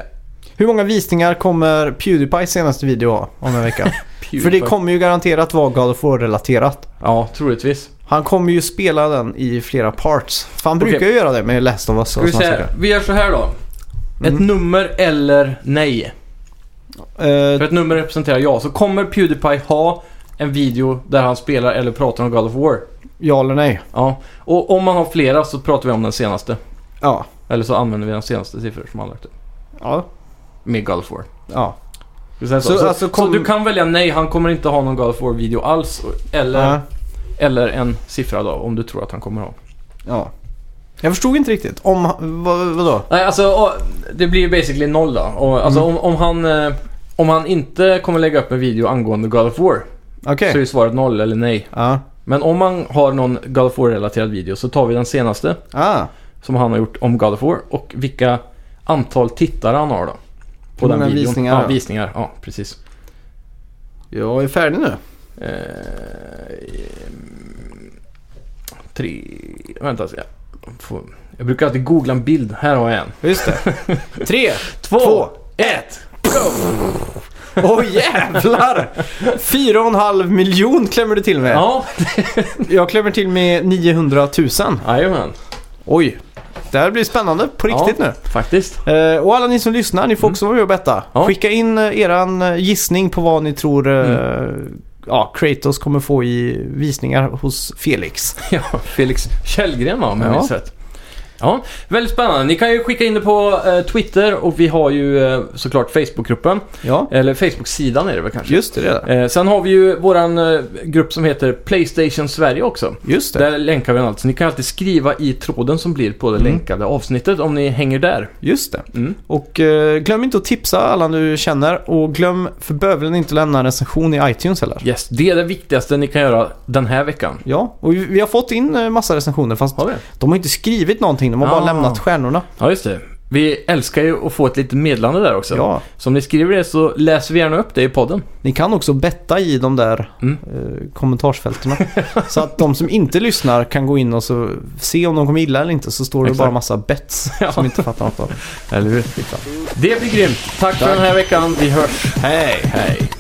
Speaker 1: Hur många visningar kommer Pewdiepies senaste video ha om en vecka? För det
Speaker 2: Pewdiepie.
Speaker 1: kommer ju garanterat vara God of War-relaterat.
Speaker 2: Ja, troligtvis.
Speaker 1: Han kommer ju spela den i flera parts. För han
Speaker 2: Okej.
Speaker 1: brukar ju göra det med Last of Us och
Speaker 2: Ska vi,
Speaker 1: såna
Speaker 2: se.
Speaker 1: saker.
Speaker 2: vi gör så här då. Ett
Speaker 1: Mm.
Speaker 2: nummer eller nej.
Speaker 1: Eh,
Speaker 2: För ett nummer representerar ja. Så kommer Pewdiepie ha en video där han spelar eller pratar om God of War?
Speaker 1: ja eller nej?
Speaker 2: Ja. Och om man har flera så pratar vi om den senaste.
Speaker 1: Ja.
Speaker 2: Eller så använder vi den senaste siffror som han lagt ut.
Speaker 1: Ja.
Speaker 2: Med God of War.
Speaker 1: ja.
Speaker 2: Ska vi säga
Speaker 1: Så
Speaker 2: Så, så,
Speaker 1: alltså
Speaker 2: så,
Speaker 1: kom-
Speaker 2: du kan välja nej, han kommer inte ha någon God of War-video alls. Eller,
Speaker 1: Ja.
Speaker 2: eller en siffra då, om du tror att han kommer ha.
Speaker 1: ja. Jag förstod inte riktigt. Om... Vad, vadå?
Speaker 2: Nej, alltså och, det blir ju basically noll då. Och, alltså,
Speaker 1: Mm.
Speaker 2: om, om, han, eh, om han inte kommer lägga upp en video angående God of War
Speaker 1: Okej.
Speaker 2: så är ju svaret noll eller nej.
Speaker 1: Ja.
Speaker 2: Men om man har någon God of War-relaterad video så tar vi den senaste
Speaker 1: Ah.
Speaker 2: som han har gjort om God of War och vilka antal tittare han har då. På
Speaker 1: Hur
Speaker 2: den
Speaker 1: många
Speaker 2: videon.
Speaker 1: visningar?
Speaker 2: Ja, visningar. Ja, precis.
Speaker 1: Jag är färdig nu.
Speaker 2: Eh, tre... Vänta, ska jag, får, jag brukar alltid googla en bild. Här har jag en.
Speaker 1: Just det. Tre.
Speaker 2: Två,
Speaker 1: Två.
Speaker 2: ett!
Speaker 1: Åh jävlar! Fyra och en halv miljon klämmer du till med.
Speaker 2: Ja,
Speaker 1: Jag klämmer till med 900 000.
Speaker 2: jajamän.
Speaker 1: Oj. Det här blir spännande på riktigt
Speaker 2: ja,
Speaker 1: nu.
Speaker 2: Faktiskt.
Speaker 1: Eh, och alla ni som lyssnar, ni får också vara med och betta.
Speaker 2: Ja.
Speaker 1: Skicka in eh, eran eh, gissning på vad ni tror eh,
Speaker 2: Mm.
Speaker 1: ja, Kratos kommer få i visningar hos Felix.
Speaker 2: Ja, Felix Källgren va, om jag
Speaker 1: Ja.
Speaker 2: minns rätt. Ja, väldigt spännande. Ni kan ju skicka in det på eh, Twitter och vi har ju eh, såklart Facebookgruppen.
Speaker 1: Ja,
Speaker 2: Eller Facebook-sidan är det väl kanske.
Speaker 1: just det. det.
Speaker 2: Eh, sen har vi ju våran eh, grupp som heter Playstation Sverige också.
Speaker 1: Just det.
Speaker 2: Där länkar vi den alltså. Ni kan alltid skriva i tråden som blir på det
Speaker 1: Mm.
Speaker 2: länkade avsnittet om ni hänger där.
Speaker 1: Just det.
Speaker 2: Mm.
Speaker 1: Och eh, glöm inte att tipsa alla du känner och glöm för bövelen inte att lämna en recension i iTunes heller.
Speaker 2: Yes, det är det viktigaste ni kan göra den här veckan.
Speaker 1: Ja, och vi vi har fått in eh, massa recensioner fast
Speaker 2: Har vi?
Speaker 1: de har inte skrivit någonting, de har bara
Speaker 2: Ah.
Speaker 1: lämnat stjärnorna.
Speaker 2: Ja, just det. Vi älskar ju att få ett litet meddelande där också.
Speaker 1: Ja,
Speaker 2: Så om ni skriver det så läser vi gärna upp det i podden.
Speaker 1: ni kan också betta i de där
Speaker 2: Mm.
Speaker 1: eh, kommentarsfältena. så att de som inte lyssnar kan gå in och så se om de kommer gilla eller inte. Så står det
Speaker 2: Exakt.
Speaker 1: bara massa bets som inte fattar något av.
Speaker 2: Eller hur? Det blir grymt. Tack för den här veckan. Vi hörs.
Speaker 1: Hej!
Speaker 2: Hej.